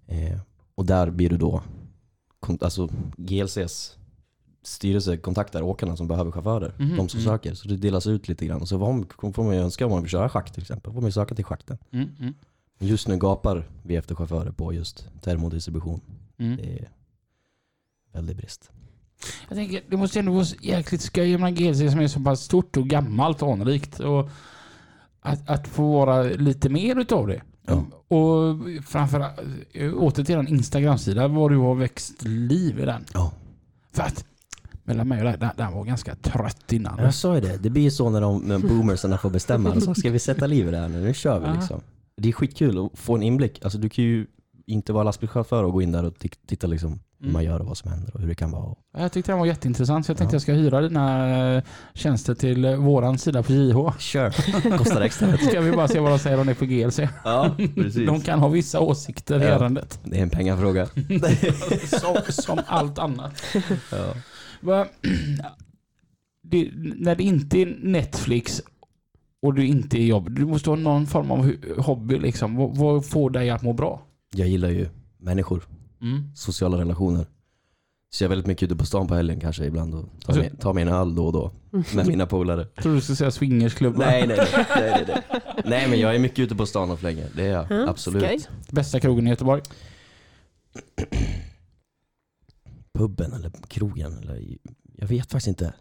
Speaker 3: Eh, och där blir du då, kon- alltså GLCs styrelse kontaktar åkarna som behöver chaufförer.
Speaker 2: Mhm,
Speaker 3: De som
Speaker 2: mm.
Speaker 3: söker. Så det delas ut lite grann. Så vad- får man ju önska om man vill köra schakt till exempel. får man ju söka till schakten.
Speaker 2: Mm. Mm.
Speaker 3: Just nu gapar vi efter chaufförer på just termodistribution.
Speaker 2: Mm.
Speaker 3: Det är väldigt brist.
Speaker 2: Jag tänker, det måste ändå vara så jäkligt skoj med en GLC som är så pass stort och gammalt och anrikt. Och att, att få vara lite mer utav det.
Speaker 3: Ja.
Speaker 2: Och framförallt, åter till den Instagram-sida, var du har växt liv i den.
Speaker 3: Ja.
Speaker 2: För att, mellan mig och dig, den, den var ganska trött innan.
Speaker 3: Jag sa ju det, det blir ju så när, de, när boomerserna får bestämma. De sa, ska vi sätta liv i det här nu? Nu kör
Speaker 2: Ja.
Speaker 3: vi liksom. Det är skitkul att få en inblick. Alltså, du kan ju inte vara lastbilschaufför och gå in där och ti- titta liksom hur
Speaker 2: Mm.
Speaker 3: man gör och vad som händer och hur det kan vara.
Speaker 2: Jag tyckte den var jätteintressant så jag tänkte
Speaker 3: Ja.
Speaker 2: jag ska hyra dina eh, tjänster till eh, våran sida på JH.
Speaker 3: Kör, kostar extra.
Speaker 2: Så ska vi bara se vad de säger om det på GLC.
Speaker 3: ja, precis.
Speaker 2: De kan ha vissa åsikter i
Speaker 3: Ja.
Speaker 2: ärendet.
Speaker 3: Det är en pengafråga.
Speaker 2: Som, som allt annat.
Speaker 3: Ja.
Speaker 2: Va- det, när det inte är Netflix och du inte är jobb, du måste ha någon form av hu- hobby. Liksom. Vad, vad får dig att må bra?
Speaker 3: Jag gillar ju människor, sociala relationer. Så jag är väldigt mycket ute på stan på helgen kanske ibland och tar,
Speaker 2: Alltså-
Speaker 3: mig, tar mig en öl då och då med mina polare.
Speaker 2: Jag tror du skulle säga swingersklubbar.
Speaker 3: Nej, nej, nej, nej, nej, nej. nej, men jag är mycket ute på stan och flänger. Det är jag.
Speaker 1: Ja,
Speaker 3: Absolut.
Speaker 1: Mm, skoj.
Speaker 2: Bästa krogen i Göteborg.
Speaker 3: Puben eller krogen eller jag vet faktiskt inte.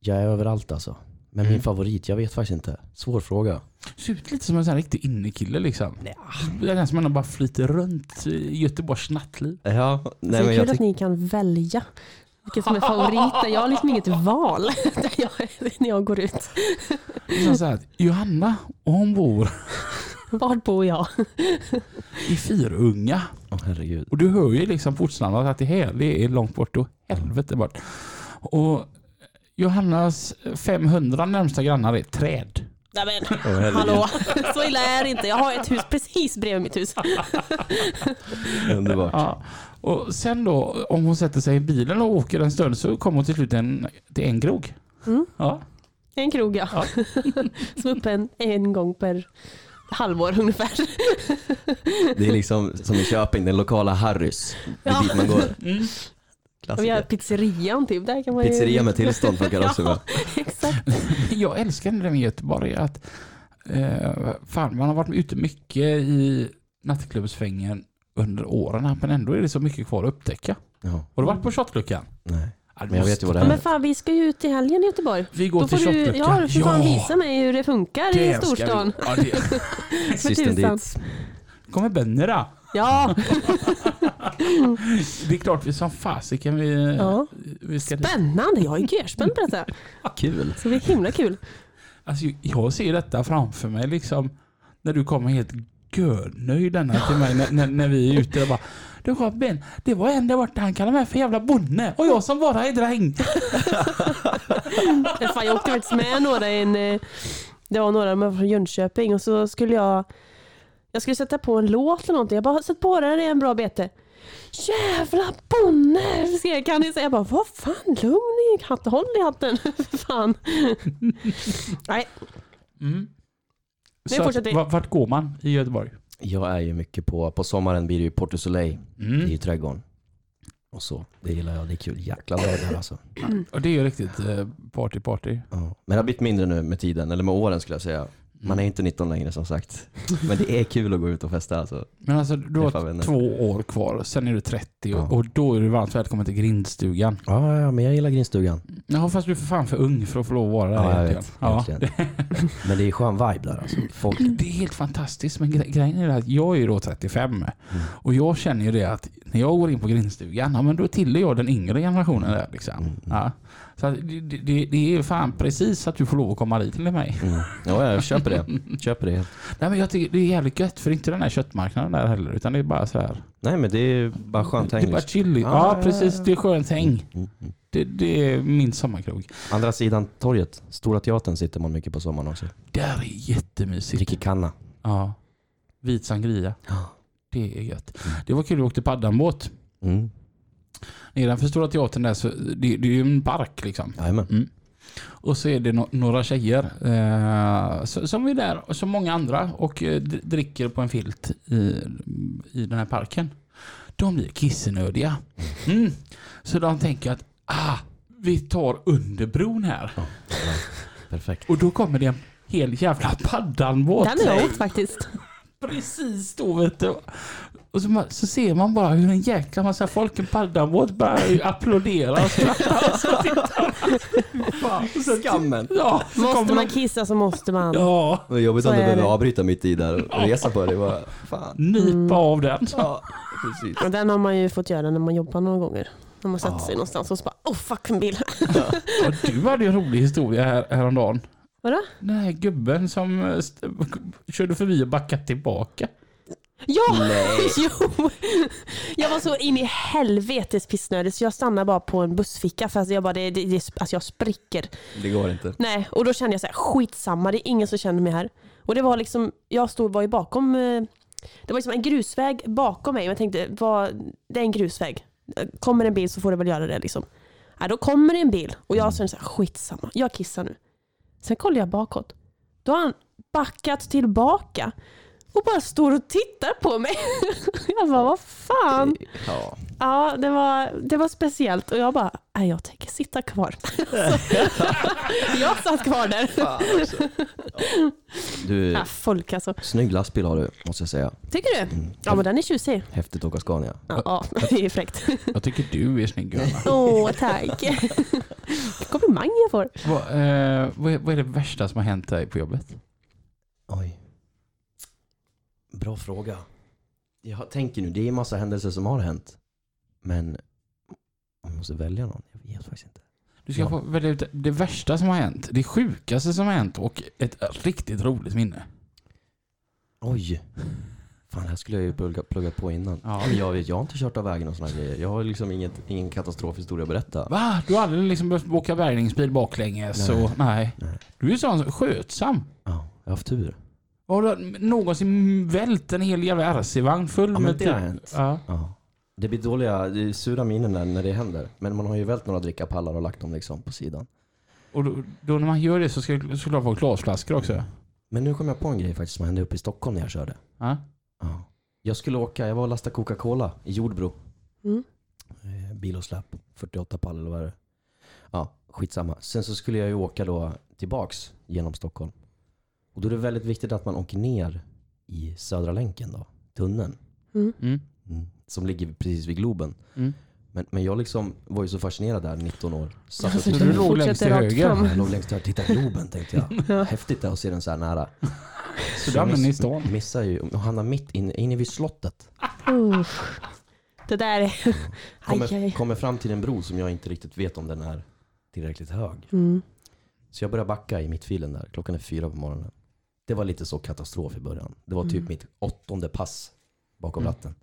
Speaker 3: Jag är överallt alltså. Men
Speaker 2: Mm.
Speaker 3: min favorit, jag vet faktiskt inte. Svår fråga.
Speaker 2: Ser ut lite som en sån här riktig innekille liksom.
Speaker 3: ah.
Speaker 2: Det är den som ändå bara flyter runt i Göteborgs nattliv.
Speaker 3: Ja, nej
Speaker 1: så
Speaker 3: men
Speaker 1: det är
Speaker 3: jag
Speaker 1: kul att
Speaker 3: tycker...
Speaker 1: ni kan välja vilket som är favoriter. Jag har liksom inget val jag, när jag går ut.
Speaker 2: Det är som så här, att Johanna, och hon bor
Speaker 1: Var bor jag?
Speaker 2: i Fyrunga.
Speaker 3: Åh, herregud.
Speaker 2: Och du hör ju liksom portsnamnet att det här det är långt bort och helvete bort. Och Johannas 500 närmsta grannar är träd.
Speaker 1: Nej men,
Speaker 3: Åh, herregud.
Speaker 1: hallå, så illa är det inte. Jag har ett hus precis bredvid mitt hus.
Speaker 3: Underbart.
Speaker 2: Ja. Och sen då, om hon sätter sig i bilen och åker en stund så kommer hon till slut en, till en krog.
Speaker 1: Mm.
Speaker 2: Ja.
Speaker 1: En krog ja. Som är uppe en, en gång per halvår ungefär.
Speaker 3: Det är liksom som i Köping, den lokala Harrys. Det är
Speaker 1: Ja.
Speaker 3: dit man går.
Speaker 2: Mm.
Speaker 1: Och vi har
Speaker 3: Klassiker.
Speaker 1: pizzerian typ. Där kan man ju...
Speaker 3: Pizzeria med tillstånd funkar också bra.
Speaker 1: Exakt.
Speaker 2: Jag älskar det med Göteborg att eh, fan, man har varit ute mycket i nattklubbsvängen under åren här, men ändå är det så mycket kvar att upptäcka.
Speaker 3: Ja,
Speaker 2: Har du varit på shotluckan?
Speaker 3: nej.
Speaker 2: Ja, det
Speaker 3: Men jag vet
Speaker 2: måste-
Speaker 3: ju vad det
Speaker 1: Ja,
Speaker 3: är.
Speaker 1: men fan vi ska ju ut i helgen i Göteborg.
Speaker 2: Vi går
Speaker 1: Då får
Speaker 2: till
Speaker 1: du,
Speaker 2: shotluckan.
Speaker 1: ja, du får fan visa mig hur det funkar i
Speaker 2: ska vi-
Speaker 1: storstan.
Speaker 2: Ja, det-
Speaker 3: Systern dit.
Speaker 2: kommer bönderna.
Speaker 1: Ja,
Speaker 2: Det är klart vi som fasiken vi,
Speaker 1: Ja.
Speaker 2: vi ska dit.
Speaker 1: spännande. Jag är görspänd på detta.
Speaker 3: Kul.
Speaker 1: Så det är himla kul.
Speaker 2: Alltså, jag ser detta framför mig liksom. När du kommer helt görnöjd denna till mig när, när, när vi är ute och bara Du Robin, det var en där borta han kallade mig för jävla bonne och jag som bara är dräng.
Speaker 1: Men Fan, jag åkte faktiskt med några i en, eh, det var några med från Jönköping och så skulle jag, jag skulle sätta på en låt eller någonting. Jag bara, sätt på den, det är en bra bete. Jävla bonne, skrek han. Jag bara, vad fan, lugn i hatten, håll i hatten. För fan. Nej,
Speaker 2: Mm.
Speaker 1: Nu
Speaker 2: Så att,
Speaker 1: fortsätter vi.
Speaker 2: vart, vart går man i Göteborg?
Speaker 3: Jag är ju mycket på, på sommaren blir det ju Porto Soleil. Det är ju
Speaker 2: Mm.
Speaker 3: trädgården. Och så. Det gillar jag. Det är kul. Jäkla bra där alltså.
Speaker 2: Och det är ju riktigt eh, party party.
Speaker 3: Ja. Men det har blivit mindre nu med tiden, eller med åren skulle jag säga. Man är inte 19 längre som sagt. Men det är kul att gå ut och festa alltså.
Speaker 2: Men alltså du
Speaker 3: Träffa
Speaker 2: har
Speaker 3: vänner.
Speaker 2: två år kvar, sen är du 30 och,
Speaker 3: Ja.
Speaker 2: och då är du varmt välkommen till grindstugan.
Speaker 3: Ja, ja, ja, men jag gillar grindstugan.
Speaker 2: Ja fast du är för fan för ung för att få lov att vara där
Speaker 3: Ja, jag
Speaker 2: egentligen.
Speaker 3: vet.
Speaker 2: Ja.
Speaker 3: Egentligen. Men det är skön vibe där alltså. Folk, Mm.
Speaker 2: Det är helt fantastiskt men gre- grejen är det att jag är ju då 35 och jag känner ju det att när jag går in på grindstugan, ja, men då tillhör jag den yngre generationen där. Liksom.
Speaker 3: Mm.
Speaker 2: Ja. Så att det, det, det är fan precis att du får lov att komma dit till mig.
Speaker 3: Mm. Ja, jag köper det. köper det. helt.
Speaker 2: Nej, men jag tycker det är jävligt gött, för det är inte den här köttmarknaden där heller, utan det är bara så här.
Speaker 3: Nej, men det är bara skönt
Speaker 2: det är
Speaker 3: häng.
Speaker 2: bara
Speaker 3: liksom.
Speaker 2: chilligt.
Speaker 3: Ja,
Speaker 2: Ja, precis. Det är skönt häng.
Speaker 3: Mm, mm.
Speaker 2: Det, det är min sommarkrog.
Speaker 3: Andra sidan torget, Stora Teatern sitter man mycket på sommaren också.
Speaker 2: Där är jättemysigt.
Speaker 3: Dricker kanna.
Speaker 2: Ja. Vit sangria.
Speaker 3: Ja.
Speaker 2: Det är gött. Det var kul, vi åkte paddanbåt.
Speaker 3: Mm.
Speaker 2: Nedanför Stora Teatern där, så det, det är ju en park liksom.
Speaker 3: Jajamän.
Speaker 2: Och så är det no- några tjejer eh, så- som är där, och som många andra, och eh, dr- dricker på en filt i, i den här parken. De blir kissnödiga. Mm. Så de tänker att ah, vi tar under bron här.
Speaker 3: Ja, ja. Perfekt.
Speaker 2: Och då kommer det en hel jävla paddanbåt.
Speaker 1: Den är jag åt faktiskt.
Speaker 2: Precis då vet du. Och så, så ser man bara hur en jäkla massa folk i paddanbåt börjar applådera och skratta. Och så tittar man. Fan, och så-
Speaker 3: Skammen.
Speaker 2: Ja, så
Speaker 1: Måste
Speaker 2: kommer
Speaker 1: man
Speaker 2: de-
Speaker 1: kissa så måste man.
Speaker 2: Ja,
Speaker 3: Det var jobbigt
Speaker 1: Så
Speaker 3: om du
Speaker 1: är
Speaker 3: behövde
Speaker 1: det.
Speaker 3: avbryta mitt i där och resa på dig. Bara, Fan.
Speaker 2: nypa av den.
Speaker 3: Ja, precis.
Speaker 1: Och den har man ju fått göra när man jobbar några gånger. När man sätter sig någonstans och så bara, oh fuck en bil.
Speaker 2: Och du hade ju en rolig historia här, häromdagen.
Speaker 1: Vadå?
Speaker 2: Den här gubben som eh, st- körde förbi och backade tillbaka.
Speaker 1: Ja! Jo! Jag var så in i helvetes pissnödig så jag stannade bara på en bussficka för att jag bara, det, det, det, alltså jag spricker.
Speaker 3: Det går inte.
Speaker 1: Nej, och då kände jag så här, skitsamma, det är ingen som känner mig här. Och det var liksom, jag stod, var ju bakom, eh, det var liksom en grusväg bakom mig och jag tänkte, vad, det är en grusväg. Kommer en bil så får det väl göra det liksom. Ja, då kommer det en bil och jag känner så här, skitsamma, jag kissar nu. Sen kollar jag bakåt. Då har han backat tillbaka och bara står och tittar på mig. Jag bara, vad fan?
Speaker 3: Ja.
Speaker 1: Ja, det var, det var speciellt och jag bara, nej jag tänker sitta kvar. jag satt kvar där.
Speaker 2: alltså.
Speaker 3: Du,
Speaker 1: Ja, folk alltså.
Speaker 3: snygg lastbil har du, måste jag säga. Mm.
Speaker 1: Tycker du? Ja, men den är tjusig.
Speaker 3: Häftigt att åka Scania.
Speaker 1: Ja, ja det är fräckt.
Speaker 2: Jag tycker du är snygg Johanna.
Speaker 1: Åh, tack. Komplimang jag får.
Speaker 2: vad, eh, vad, är- vad är det värsta som har hänt dig på jobbet?
Speaker 3: Oj. Bra fråga. Jag tänker nu, det är en massa händelser som har hänt. Men om jag måste välja någon, jag vet faktiskt inte.
Speaker 2: Du ska
Speaker 3: Ja.
Speaker 2: få välja ut det värsta som har hänt, det sjukaste som har hänt och ett riktigt roligt minne.
Speaker 3: Oj. Fan, det här skulle jag ju plugga, plugga på innan.
Speaker 2: Ja.
Speaker 3: Men Jag, vet, jag har inte kört av vägen och sådana grejer. Jag har liksom inget, ingen katastrofhistoria att berätta.
Speaker 2: Va? Du har aldrig liksom behövt åka bärgningsbil baklänges? Nej. Och, nej.
Speaker 3: Nej.
Speaker 2: Du är ju sån skötsam.
Speaker 3: Ja, jag har haft tur.
Speaker 2: Har du någonsin vält en hel jävla RC-vagn full
Speaker 3: Ja,
Speaker 2: med... typ-
Speaker 3: men det har hänt.
Speaker 2: Ja.
Speaker 3: Ja. Det blir dåliga, det är sura minnen när, när det händer. Men man har ju vält några drickapallar och lagt dem liksom på sidan.
Speaker 2: Och då, då när man gör det så ska det såklart vara glasflaskor också.
Speaker 3: Men nu kom jag på en grej faktiskt som hände uppe i Stockholm när jag körde.
Speaker 2: Ja.
Speaker 3: Ja. Jag skulle åka, jag var och lastade Coca-Cola i Jordbro.
Speaker 1: Mm.
Speaker 3: Eh, Bil och släp, 48 pall eller vad är det? Ja, skitsamma. Sen så skulle jag ju åka då tillbaks genom Stockholm. Och då är det väldigt viktigt att man åker ner i Södra länken då, tunneln.
Speaker 2: Mm.
Speaker 3: Som ligger precis vid Globen.
Speaker 2: Mm.
Speaker 3: Men, men jag liksom var ju så fascinerad där, 19 år. Satt och
Speaker 1: Alltså,
Speaker 2: Så
Speaker 3: tittade
Speaker 2: du
Speaker 1: den
Speaker 2: låg
Speaker 1: fortsätter
Speaker 2: längst till
Speaker 1: rakt
Speaker 2: höger?
Speaker 1: fram.
Speaker 3: jag låg längst där, titta Globen tänkte jag. Häftigt det är att se den så här nära.
Speaker 2: Så du hamnade i stan?
Speaker 3: Missar ju, och hamnar mitt inne, inne vid slottet.
Speaker 1: Uff. Det där är... Aj, aj,
Speaker 3: Kommer,
Speaker 1: aj.
Speaker 3: kommer fram till en bro som jag inte riktigt vet om den är tillräckligt hög.
Speaker 1: Mm.
Speaker 3: Så jag börjar backa i mittfilen där. Klockan är fyra på morgonen. Det var lite så katastrof i början. Det var typ
Speaker 1: Mm.
Speaker 3: mitt åttonde pass bakom
Speaker 2: Mm.
Speaker 3: ratten.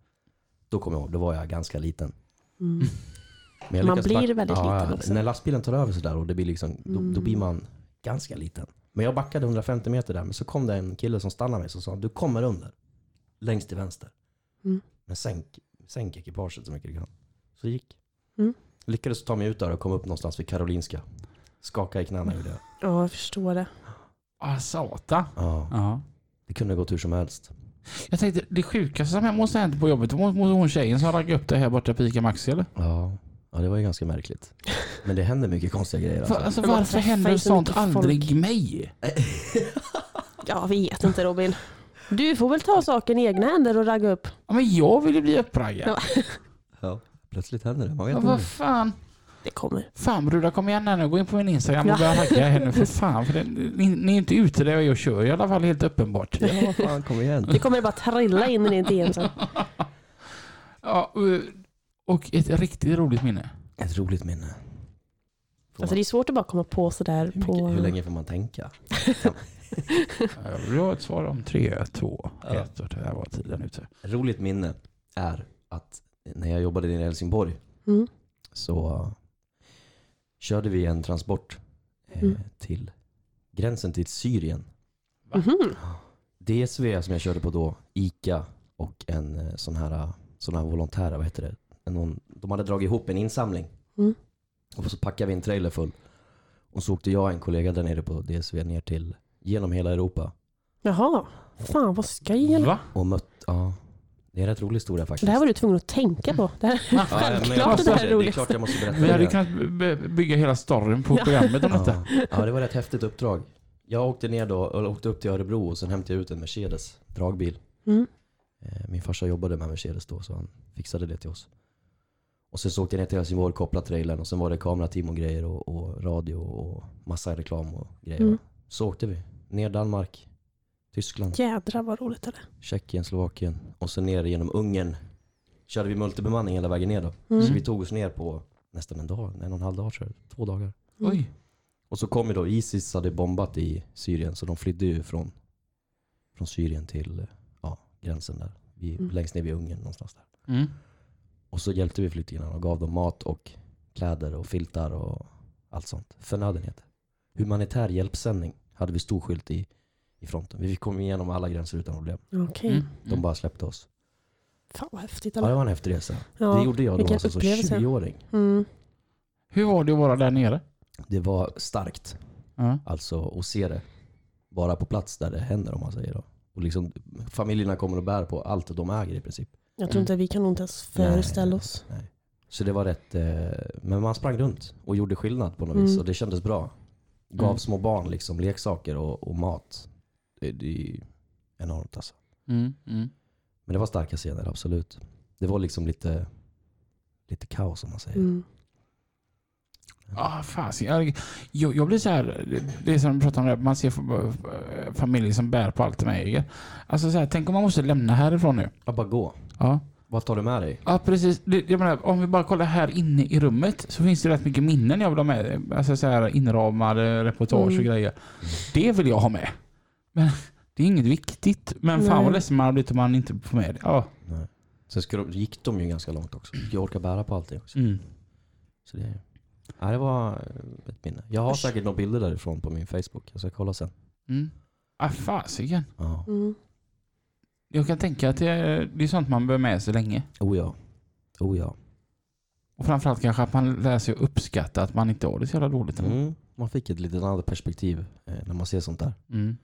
Speaker 3: Då kommer jag ihåg, då var jag ganska liten.
Speaker 1: Mm.
Speaker 3: Men jag
Speaker 1: Man
Speaker 3: lyckas
Speaker 1: blir väldigt liten också.
Speaker 3: När lastbilen tar över sådär och det blir liksom,
Speaker 1: Mm.
Speaker 3: då, då blir man ganska liten. Men jag backade 150 meter där, men så kom det en kille som stannade mig och sa du kommer under. Längst till vänster.
Speaker 1: Mm.
Speaker 3: Men sänk, sänk ekipaget så mycket du kan. Så det gick.
Speaker 1: Mm.
Speaker 3: Lyckades ta mig ut där och kom upp någonstans vid Karolinska. Skaka i knäna gjorde jag.
Speaker 1: Ja, jag förstår det.
Speaker 2: Ah, satan.
Speaker 3: Ja,
Speaker 2: Ja.
Speaker 3: det kunde gått hur som helst.
Speaker 2: Jag tänkte, det sjukaste som måste ha hänt på jobbet, det måste måste hon tjejen som raggade upp dig här borta på Ica Maxi eller?
Speaker 3: Ja. ja, det var ju ganska märkligt. Men det händer mycket konstiga grejer
Speaker 2: För,
Speaker 3: alltså.
Speaker 2: alltså,
Speaker 1: Men man
Speaker 2: varför
Speaker 1: träffar
Speaker 2: händer
Speaker 1: ju så
Speaker 2: sånt
Speaker 1: mycket folk.
Speaker 2: aldrig mig?
Speaker 1: Jag vet inte Robin. Du får väl ta saken i egna händer och ragga upp.
Speaker 2: Ja, men jag vill ju bli uppraggad.
Speaker 1: Ja.
Speaker 3: Ja, plötsligt händer det. Man vet
Speaker 2: Ja,
Speaker 3: inte.
Speaker 2: vad fan.
Speaker 1: Det kommer.
Speaker 2: Fan brudar kom igen här nu, gå in på min Instagram
Speaker 1: Ja.
Speaker 2: och börja ragga henne för fan. För det, ni, ni är inte ute där jag kör i alla fall helt uppenbart.
Speaker 3: Ja, fan kom igen.
Speaker 1: Det kommer bara trilla in i din DM sen.
Speaker 2: Ja, och- och ett riktigt roligt minne.
Speaker 3: Ett roligt minne. Får
Speaker 1: Alltså
Speaker 3: man,
Speaker 1: det är svårt att bara komma på sådär
Speaker 3: hur, mycket,
Speaker 1: på...
Speaker 3: hur länge får man tänka?
Speaker 2: Jag vill ha ett svar om tre, två,
Speaker 3: Ja.
Speaker 2: ett och det här var tiden ute.
Speaker 3: Ett roligt minne är att när jag jobbade nere i Helsingborg
Speaker 1: Mm.
Speaker 3: så eh, körde vi en transport eh,
Speaker 1: Mm.
Speaker 3: till gränsen till Syrien.
Speaker 2: Va?
Speaker 1: Mhm.
Speaker 3: DSV som jag körde på då, ICA och en eh, sån här, eh, sån här volontära, vad heter det? En, någon, de hade dragit ihop en insamling.
Speaker 1: Mm.
Speaker 3: Och så packade vi en trailer full. Och så åkte jag och en kollega där nere på DSV ner till, genom hela Europa.
Speaker 1: Jaha. Fan vad skoj.
Speaker 2: Va?
Speaker 3: Och mött, ja. Det är en rätt rolig historia faktiskt.
Speaker 1: Det här var du tvungen att tänka på. Det här,
Speaker 2: Ja,
Speaker 3: ja, men jag
Speaker 1: självklart
Speaker 3: måste-
Speaker 1: det här
Speaker 3: Det är
Speaker 1: roligaste.
Speaker 3: klart jag måste berätta
Speaker 2: Vi hade
Speaker 3: det.
Speaker 2: kunnat by- by- bygga hela storyn på programmet om detta.
Speaker 3: Ja. ja, det var ett häftigt uppdrag. Jag åkte ner då, eller åkte upp till Örebro och sen hämtade jag ut en Mercedes dragbil.
Speaker 1: Mm.
Speaker 3: Eh, Min farsa jobbade med Mercedes då så han fixade det till oss. Och sen så åkte jag ner till Helsingborg och kopplade trailern och sen var det kamerateam och grejer och, och radio och massa reklam och grejer.
Speaker 1: Mm.
Speaker 3: Så åkte vi. Ner Danmark, Tyskland,
Speaker 1: Jädrar vad roligt det där.
Speaker 3: Tjeckien, Slovakien och sen ner genom Ungern. Körde vi multibemanning hela vägen ner då. Så
Speaker 1: Mm.
Speaker 3: vi tog oss ner på nästan en dag, en och en halv dag tror jag, två dagar.
Speaker 2: Oj.
Speaker 3: Och så kom ju då Isis hade bombat i Syrien så de flydde ju från, från Syrien till ja, gränsen där. Vi,
Speaker 1: Mm.
Speaker 3: Längst ner vid Ungern någonstans där.
Speaker 2: Mm.
Speaker 3: Och så hjälpte vi flyktingarna och gav dem mat och kläder och filtar och allt sånt. Förnödenheter. Humanitär hjälpsändning hade vi stor skylt i, i fronten. Vi fick komma igenom alla gränser utan problem.
Speaker 1: Okej.
Speaker 2: Mm.
Speaker 3: De bara släppte oss.
Speaker 1: Fan vad häftigt.
Speaker 3: Ja,
Speaker 1: eller?
Speaker 3: det var en häftig resa.
Speaker 1: Ja.
Speaker 3: det gjorde jag då
Speaker 1: vilken
Speaker 3: alltså som
Speaker 1: upplevelse.
Speaker 3: 20-åring.
Speaker 1: Mm.
Speaker 2: Hur var det att vara där nere?
Speaker 3: Det var starkt.
Speaker 2: Ja.
Speaker 3: Alltså att se det. Vara på plats där det händer om man säger då. Och liksom, familjerna kommer och bär på allt de äger i princip.
Speaker 1: Jag tror inte vi kan nog inte ens
Speaker 3: Mm. Nej.
Speaker 1: föreställa oss.
Speaker 3: Så det var rätt, eh, men man sprang runt och gjorde skillnad på något
Speaker 1: Mm.
Speaker 3: vis och det kändes bra. Gav
Speaker 2: Mm.
Speaker 3: små barn liksom leksaker och, och mat. Det, det är ju enormt alltså.
Speaker 2: Mm. Mm.
Speaker 3: Men det var starka scener, absolut. Det var liksom lite, lite kaos om man säger.
Speaker 1: Mm.
Speaker 2: Ah, fasen. Jag, jag, jag blir så här, det är som vi pratade om, det här, man ser f- familjer som bär på allt de äger. Alltså så här, tänk om man måste lämna härifrån nu.
Speaker 3: Ja, bara gå.
Speaker 2: Ja,
Speaker 3: Vad tar du med dig?
Speaker 2: ja precis. Det, jag menar, om vi bara kollar här inne i rummet så finns det rätt mycket minnen jag vill ha med. Alltså så här inramade reportage
Speaker 1: Mm.
Speaker 2: och grejer. Det vill jag ha med. Men det är inget viktigt. Men fan
Speaker 1: Nej.
Speaker 2: vad ledsen man hade blivit om man inte får med det. Ja.
Speaker 3: Nej. Sen ska de, gick de ju ganska långt också. Jag orkar bära på allting också.
Speaker 2: Mm.
Speaker 3: Så det, ja, det var eh, ett minne. Jag har
Speaker 1: Usch.
Speaker 3: säkert några bilder därifrån på min Facebook. Jag ska kolla sen.
Speaker 2: Mm. Ah, fasiken.
Speaker 3: Ja.
Speaker 1: Mm.
Speaker 2: Jag kan tänka att det är, det är sånt man bär med sig länge.
Speaker 3: Oh ja. Oh ja.
Speaker 2: Och framförallt kanske att man lär sig att uppskatta att man inte har det så jävla dåligt. ändå.
Speaker 3: Mm. Man fick ett litet annat perspektiv eh, när man ser sånt där.
Speaker 2: Mm.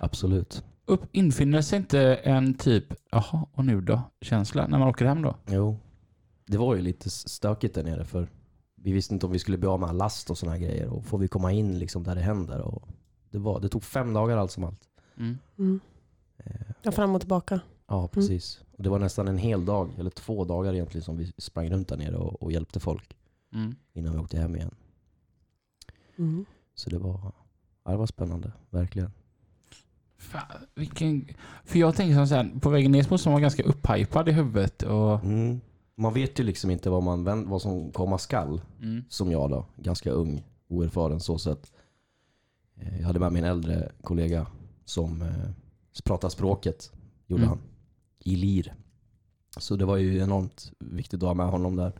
Speaker 3: Absolut.
Speaker 2: Upp, infinner sig inte en typ, jaha, och nu då? Känsla när man åker hem då?
Speaker 3: Jo. Det var ju lite s- stökigt där nere för vi visste inte om vi skulle bli av med all last och såna här grejer. Och får vi komma in liksom där det händer? Och det, var, det tog fem dagar allt som allt.
Speaker 2: Mm.
Speaker 1: Mm.
Speaker 3: Eh,
Speaker 1: Ja, fram och tillbaka.
Speaker 3: Ja, precis. Mm. Och det var nästan en hel dag, eller två dagar egentligen, som vi sprang runt där nere och, och hjälpte folk
Speaker 2: Mm.
Speaker 3: innan vi åkte hem igen.
Speaker 1: Mm.
Speaker 3: Så det var, ja, det var spännande, verkligen.
Speaker 2: Fan, vilken... För jag tänker som så här, på vägen ner så måste man vara ganska upphypad i huvudet och...
Speaker 3: Mm. Man vet ju liksom inte vad, man, vänt- vad som komma skall,
Speaker 2: Mm.
Speaker 3: som jag då. Ganska ung, oerfaren så sett. Eh, Jag hade med min äldre kollega som eh, pratade språket, gjorde
Speaker 2: Mm.
Speaker 3: han, i lir. Så det var ju enormt viktigt att ha med honom där.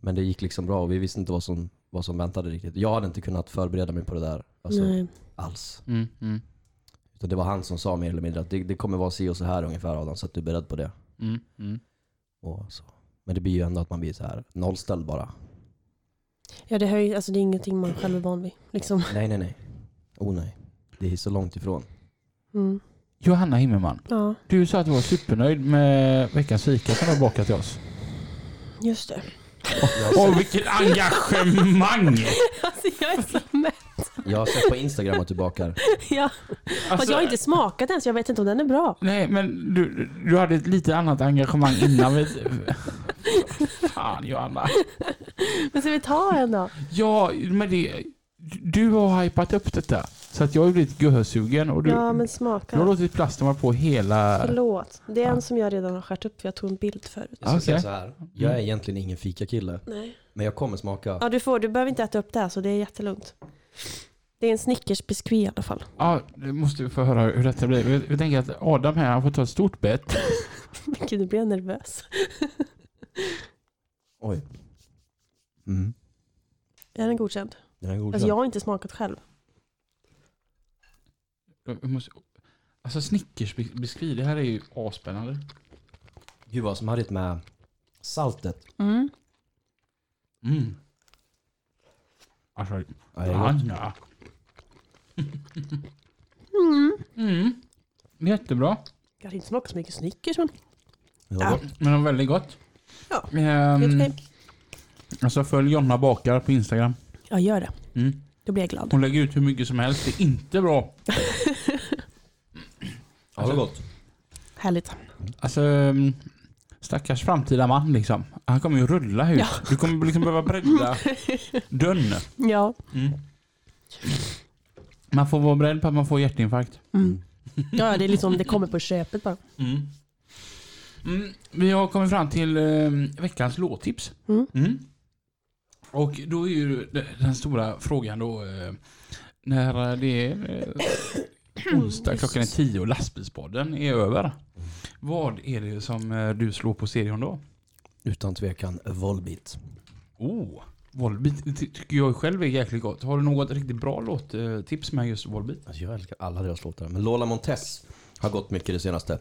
Speaker 3: Men det gick liksom bra och vi visste inte vad som, vad som väntade riktigt. Jag hade inte kunnat förbereda mig på det där alltså,
Speaker 1: Nej.
Speaker 3: alls.
Speaker 2: Mm. Mm.
Speaker 3: Utan det var han som sa mer eller mindre att det, det kommer vara si och så här ungefär Adam, så att du är beredd på det.
Speaker 2: Mm. Mm.
Speaker 3: Och så. Men det blir ju ändå att man blir så här nollställd bara.
Speaker 1: Ja, det, höj, alltså, det är ingenting man själv är van vid. Liksom.
Speaker 3: Nej, nej, nej. Oh nej. Det är så långt ifrån.
Speaker 1: Mm.
Speaker 2: Johanna Himmelman,
Speaker 1: Ja,
Speaker 2: du sa att du var supernöjd med veckans fika som du har bakat till oss.
Speaker 1: just det.
Speaker 3: Jag,
Speaker 2: Åh, vilket engagemang!
Speaker 1: Alltså, jag är så mätt.
Speaker 3: jag har sett på Instagram att du bakar.
Speaker 1: Ja.
Speaker 2: Alltså-
Speaker 1: Fast jag
Speaker 3: Alltså-
Speaker 1: har inte smakat den så jag vet inte om den är bra.
Speaker 2: Nej, men du, du hade ett lite annat engagemang innan. Vi... Fan Johanna.
Speaker 1: Men ska vi ta en då?
Speaker 2: Ja, men det... Du har hypat upp detta. Så att jag har blivit gehörsugen och du,
Speaker 1: Ja, men
Speaker 2: du har
Speaker 1: smaka.
Speaker 2: låtit plasten vara på hela...
Speaker 1: Förlåt. Det är
Speaker 2: Ja.
Speaker 1: en som jag redan har skärt upp för jag tog en bild förut.
Speaker 3: Jag ska säga
Speaker 2: Okej.
Speaker 3: så här. Jag är egentligen ingen fikakille,
Speaker 1: Nej.
Speaker 3: men jag kommer smaka.
Speaker 1: Ja, du får. Du behöver inte äta upp det här så det är jättelugnt. Det är en Snickers-biskvi i alla fall.
Speaker 2: Ja, nu måste vi få höra hur detta blir. Jag- Jag tänker att Adam här, han får ta ett stort bett.
Speaker 1: Men Gud, nu blir jag nervös.
Speaker 3: Oj. Mm.
Speaker 1: Är den godkänd?
Speaker 3: Den är god.
Speaker 1: Alltså jag har inte smakat själv.
Speaker 2: Jag måste- Alltså Snickersbiskvi, det här är ju asspännande.
Speaker 3: Gud vad smarrigt med saltet.
Speaker 1: Mm.
Speaker 2: Mm. Alltså,
Speaker 3: Ja, det är gott.
Speaker 2: Anna. Mm. Jättebra.
Speaker 1: Jag har inte smakat så mycket Snickers men
Speaker 3: Det var gott.
Speaker 2: Men de är väldigt gott.
Speaker 1: Ja,
Speaker 2: Ehm,
Speaker 1: helt okej.
Speaker 2: alltså följ Jonna Bakar på Instagram.
Speaker 1: Jag gör det.
Speaker 2: Mm.
Speaker 1: Då blir jag glad.
Speaker 2: Hon lägger ut hur mycket som helst. Det är inte bra.
Speaker 3: Ja, det var gott.
Speaker 1: Härligt.
Speaker 2: Alltså, mm, stackars framtida man liksom. Han kommer ju rulla ut.
Speaker 1: Ja.
Speaker 2: Du kommer liksom behöva bredda dörren.
Speaker 1: Ja.
Speaker 2: Mm. Man får vara beredd på att man får hjärtinfarkt.
Speaker 1: Mm. ja, det är liksom det kommer på köpet bara.
Speaker 2: Mm. Mm, vi har kommit fram till eh, veckans låttips.
Speaker 1: Mm.
Speaker 2: Och då är ju de- den stora frågan då eh, när det är eh, onsdag klockan är tio och lastbilspodden är över. Vad är det som eh, du slår på serion då?
Speaker 3: Utan tvekan Volbeat.
Speaker 2: Oh, Volbeat ty- tycker jag själv är jäkligt gott. Har du något riktigt bra låttips med just Volbeat?
Speaker 3: Alltså jag älskar alla deras låtar. Men Lola Montez har gått mycket det senaste.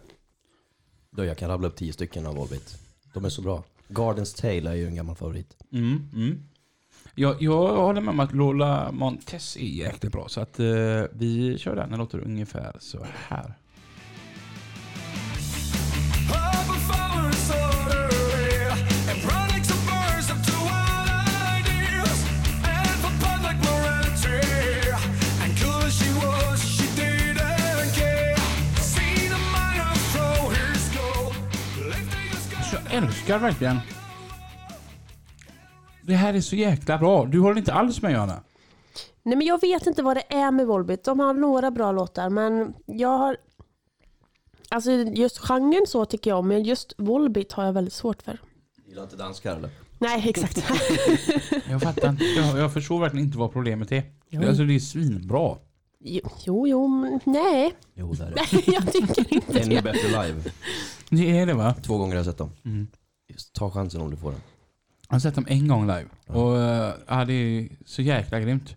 Speaker 3: Då jag kan rabbla upp tio stycken av Volbeat. De är så bra. Gardens Tale är ju en gammal favorit.
Speaker 2: Mm, mm. Jag, jag håller med om att Lola Montes är jäkligt bra. Så att eh, vi kör den. Den låter ungefär så här. Jag älskar verkligen. Det här är så jäkla bra. Du håller inte alls med Johanna.
Speaker 1: Nej men jag vet inte vad det är med Volbeat. De har några bra låtar men jag har... Alltså just genren så tycker jag om men just Volbeat har jag väldigt svårt för.
Speaker 3: Gillar inte danskar eller?
Speaker 1: Nej exakt.
Speaker 2: Jag fattar inte. Jag, jag förstår verkligen inte vad problemet är.
Speaker 1: Jo.
Speaker 2: Alltså det är svinbra.
Speaker 1: jo, jo, men nej.
Speaker 3: Jo, det är det.
Speaker 1: Nej jag tycker inte det.
Speaker 3: Ännu bättre live.
Speaker 2: Det är det va?
Speaker 3: Två gånger har jag sett dem.
Speaker 2: Mm.
Speaker 3: Just, ta chansen om du får den.
Speaker 2: Jag har sett dem en gång live. Och eh, ja, det är så jäkla grymt.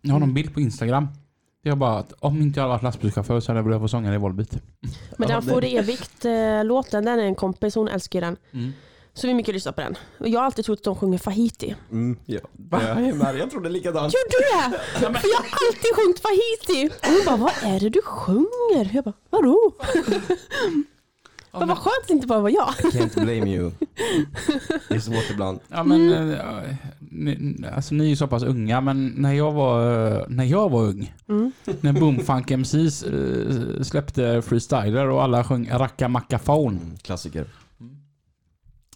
Speaker 2: Jag har någon bild på Instagram. Det är bara att om inte jag hade varit lastbilschaufför så hade jag velat vara sångare i Volbeat.
Speaker 1: Men den får det evigt-låten, den är en kompis, hon älskar ju den.
Speaker 2: Mm.
Speaker 1: Så vi mycket lyssnar på den. Och jag har alltid trott att de sjunger Fahiti.
Speaker 3: Mm, ja. Jag, jag trodde likadant.
Speaker 1: Gjorde du det? För jag har alltid sjungit Fahiti. Och hon bara, vad är det du sjunger? Jag bara, vadå? Men vad skönt att det inte bara var jag.
Speaker 3: Can't blame you. Det är svårt ibland.
Speaker 2: Ja men, eh, ni, alltså ni är ju så pass unga men när jag var, eh, när jag var ung, när Boomfunk MCs eh, släppte Freestyler och alla sjöng Racka Macka Phone.
Speaker 3: Mm, klassiker.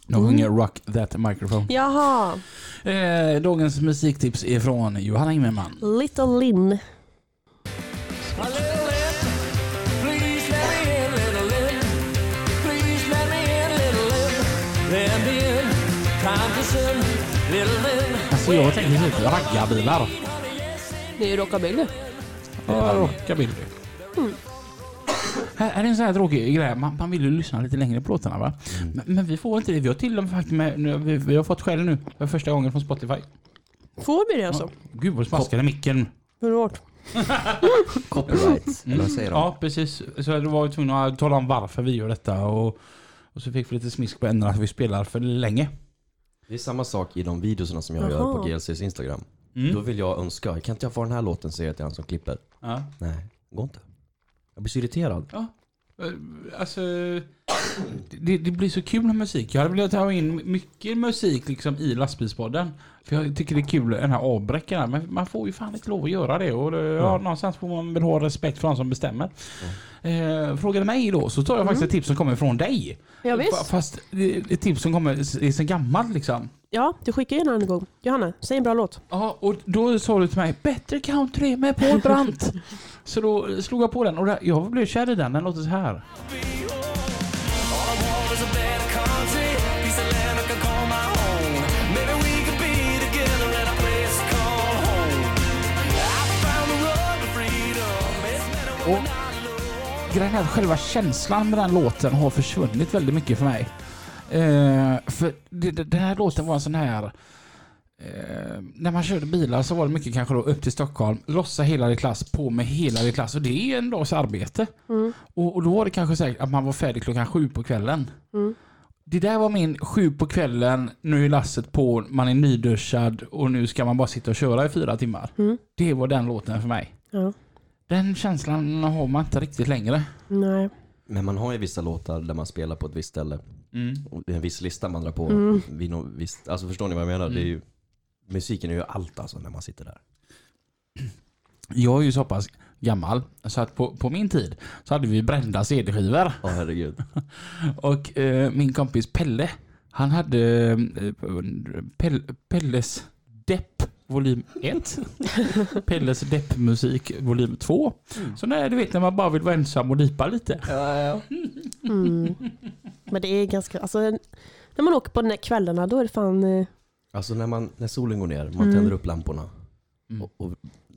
Speaker 2: De sjunger Rock That Microphone.
Speaker 1: Jaha,
Speaker 2: Eh, dagens musiktips är från Johanna Immerman.
Speaker 1: Little Lin.
Speaker 2: Alltså jag tänker typ raggarbilar.
Speaker 1: Det är ju rockabilly.
Speaker 2: Ja, rockabilly. Här här är en sån här tråkig grej. Man, man vill ju lyssna lite längre på låtarna va? Men, men vi får inte det. Vi har till och med faktiskt med, nu, vi, vi har fått skäll nu för första gången från Spotify.
Speaker 1: Får vi det alltså?
Speaker 2: Gud vad smaskade micken.
Speaker 1: Hur hårt?
Speaker 3: Copyright. Eller vad säger de?
Speaker 2: Ja, precis. Så jag var ju tvungen att tala om varför vi gör detta. Och, och så fick vi lite smisk på änden att vi spelar för länge.
Speaker 3: Det är samma sak i de videorna som jag gör
Speaker 1: Jaha.
Speaker 3: på GLCs Instagram. Då vill jag önska, kan inte jag få den här låten säger jag till han som klipper.
Speaker 2: Ja.
Speaker 3: Nej, går inte. Jag blir så irriterad.
Speaker 2: Alltså, det, det blir så kul med musik. Jag hade velat ta in mycket musik liksom i lastbilspodden. För jag tycker det är kul, den här avbräckan. här. Men man får ju fan inte lov att göra det. Och det, ja, någonstans får man väl ha respekt för de som bestämmer. Eh, frågar du mig då så tar jag faktiskt ett tips som kommer från dig.
Speaker 1: Ja,
Speaker 2: Fa-
Speaker 1: visst.
Speaker 2: Fast det är ett tips som kommer är sen gammalt liksom.
Speaker 1: Ja, du skickar ju en annan gång. Johanna, säg en bra låt.
Speaker 2: Ja, och då sa du till mig Bättre country med Paul Brandt. så då slog jag på den och där- jag blev kär i den. Den låter så här.
Speaker 4: All I want is a better country, piece of land I can call my own. Maybe we could be together at a place called home. I found the road to freedom. It's better when
Speaker 2: Oh.
Speaker 4: we're not alone.
Speaker 2: Grejen är att själva känslan med den låten har försvunnit väldigt mycket för mig. Eh, för det, det, den här låten var en sån här... Eh, när man körde bilar så var det mycket kanske då upp till Stockholm, lossa hela din klass, på med hela din klass. Och det är en dags arbete. Och, och då var det kanske säkert att man var färdig klockan sju på kvällen. Det där var min sju på kvällen, nu är lasset på, man är nyduschad och nu ska man bara sitta och köra i fyra timmar. Det var den låten för mig.
Speaker 1: Ja.
Speaker 2: Den känslan har man inte riktigt längre.
Speaker 1: Nej.
Speaker 3: Men man har ju vissa låtar där man spelar på ett visst ställe. Och det är en viss lista man drar på. Vid något visst, alltså förstår ni vad jag menar? Det är ju, musiken är ju allt alltså när man sitter där.
Speaker 2: Jag är ju så pass gammal så att på, på min tid så hade vi brända CD-skivor.
Speaker 3: Ja herregud.
Speaker 2: Och eh, min kompis Pelle, han hade eh, Pell, Pelles depp volym 1. Pelles deppmusik volym 2. Så nej, du vet när man bara vill vara ensam och dipa lite.
Speaker 1: Mm. Men det är ganska... Alltså, när man åker på de där kvällarna då är det fan... eh,
Speaker 3: Alltså när, man, när solen går ner, man tänder upp lamporna och, och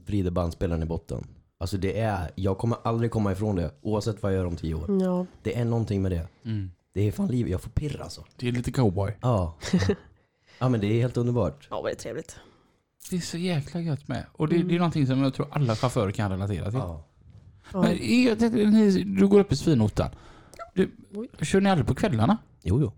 Speaker 3: vrider bandspelaren i botten. Alltså det är, jag kommer aldrig komma ifrån det oavsett vad jag gör om tio år.
Speaker 1: Ja.
Speaker 3: Det är någonting med det. Det är fan liv, jag får pirr alltså.
Speaker 2: Mm. Det är lite cowboy.
Speaker 3: Ja. ja men det är helt underbart.
Speaker 1: Ja, vad det är trevligt.
Speaker 2: Det är så jäkla gött med. Och det, det är någonting som jag tror alla chaufförer kan relatera till.
Speaker 3: Ja.
Speaker 1: Ja.
Speaker 2: Men jag tänkte, ni- du går upp i svinotan. Du, kör ni aldrig på kvällarna?
Speaker 3: Jo jo.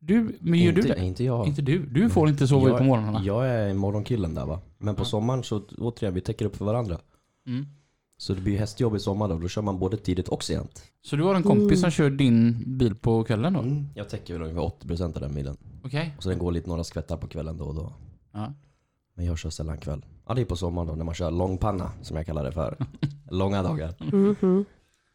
Speaker 2: Du, men gör
Speaker 3: inte,
Speaker 2: du det?
Speaker 3: inte jag.
Speaker 2: Inte du. Du får inte sova ut på morgnarna.
Speaker 3: Jag är morgonkillen där va. Men på sommaren så återigen, vi täcker upp för varandra.
Speaker 2: Mm.
Speaker 3: Så det blir ju hästjobb i sommar då. Då kör man både tidigt och sent.
Speaker 2: Så du har en kompis som kör din bil på kvällen då?
Speaker 3: Jag täcker väl ungefär 80% av den milen.
Speaker 2: Okej.
Speaker 3: Och så den går lite några skvättar på kvällen då och då.
Speaker 2: Ja.
Speaker 3: Men jag kör sällan kväll. Ja det är på sommaren då när man kör långpanna som jag kallar det för. Långa dagar. Det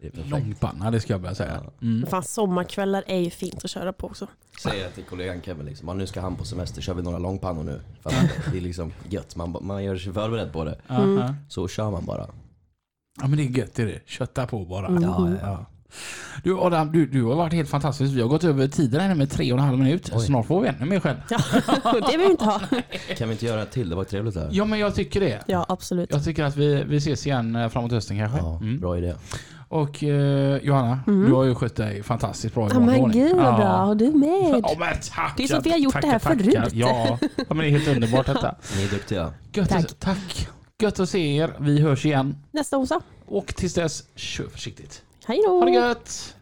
Speaker 3: är perfekt.
Speaker 2: Långpanna, det ska jag börja säga. Mm.
Speaker 1: Men fan, sommarkvällar är ju fint att köra på också.
Speaker 3: Säger jag till kollegan Kevin liksom, "Ja, nu ska han på semester, kör vi några långpannor nu. För att det är liksom gött, man, man gör sig förberedd på det.
Speaker 1: Mm.
Speaker 2: Aha.
Speaker 3: Så kör man bara.
Speaker 2: Ja men det är gött det är det. Kötta på bara.
Speaker 1: Mm.
Speaker 2: Ja, ja, ja. Du Adam, du, du har varit helt fantastisk. Vi har gått över tiden här med tre och en halv minut. Snart får vi ännu mer skäll.
Speaker 1: Ja, det vill vi inte ha.
Speaker 3: Kan vi inte göra ett till? Det var trevligt här.
Speaker 2: Ja men jag tycker det.
Speaker 1: Ja, absolut.
Speaker 2: Jag tycker att vi, vi ses igen eh, framåt hösten kanske. Mm.
Speaker 3: Ja, bra idé.
Speaker 2: Och eh, Johanna, du har ju skött dig fantastiskt bra i
Speaker 1: Mm. Ja, men
Speaker 2: ordning.
Speaker 1: gud
Speaker 2: Ja.
Speaker 1: då, och du med.
Speaker 2: Ja, men tack.
Speaker 1: Det är som vi har gjort det här
Speaker 2: Tackar, tackar.
Speaker 1: förut.
Speaker 2: Ja. ja, men det är helt underbart detta.
Speaker 3: Ni är duktiga.
Speaker 2: Gött tack. Att, tack. Gött att se er. Vi hörs igen.
Speaker 1: Nästa onsdag.
Speaker 2: Och tills dess, kör försiktigt.
Speaker 1: Hej då.
Speaker 2: Ha det gött!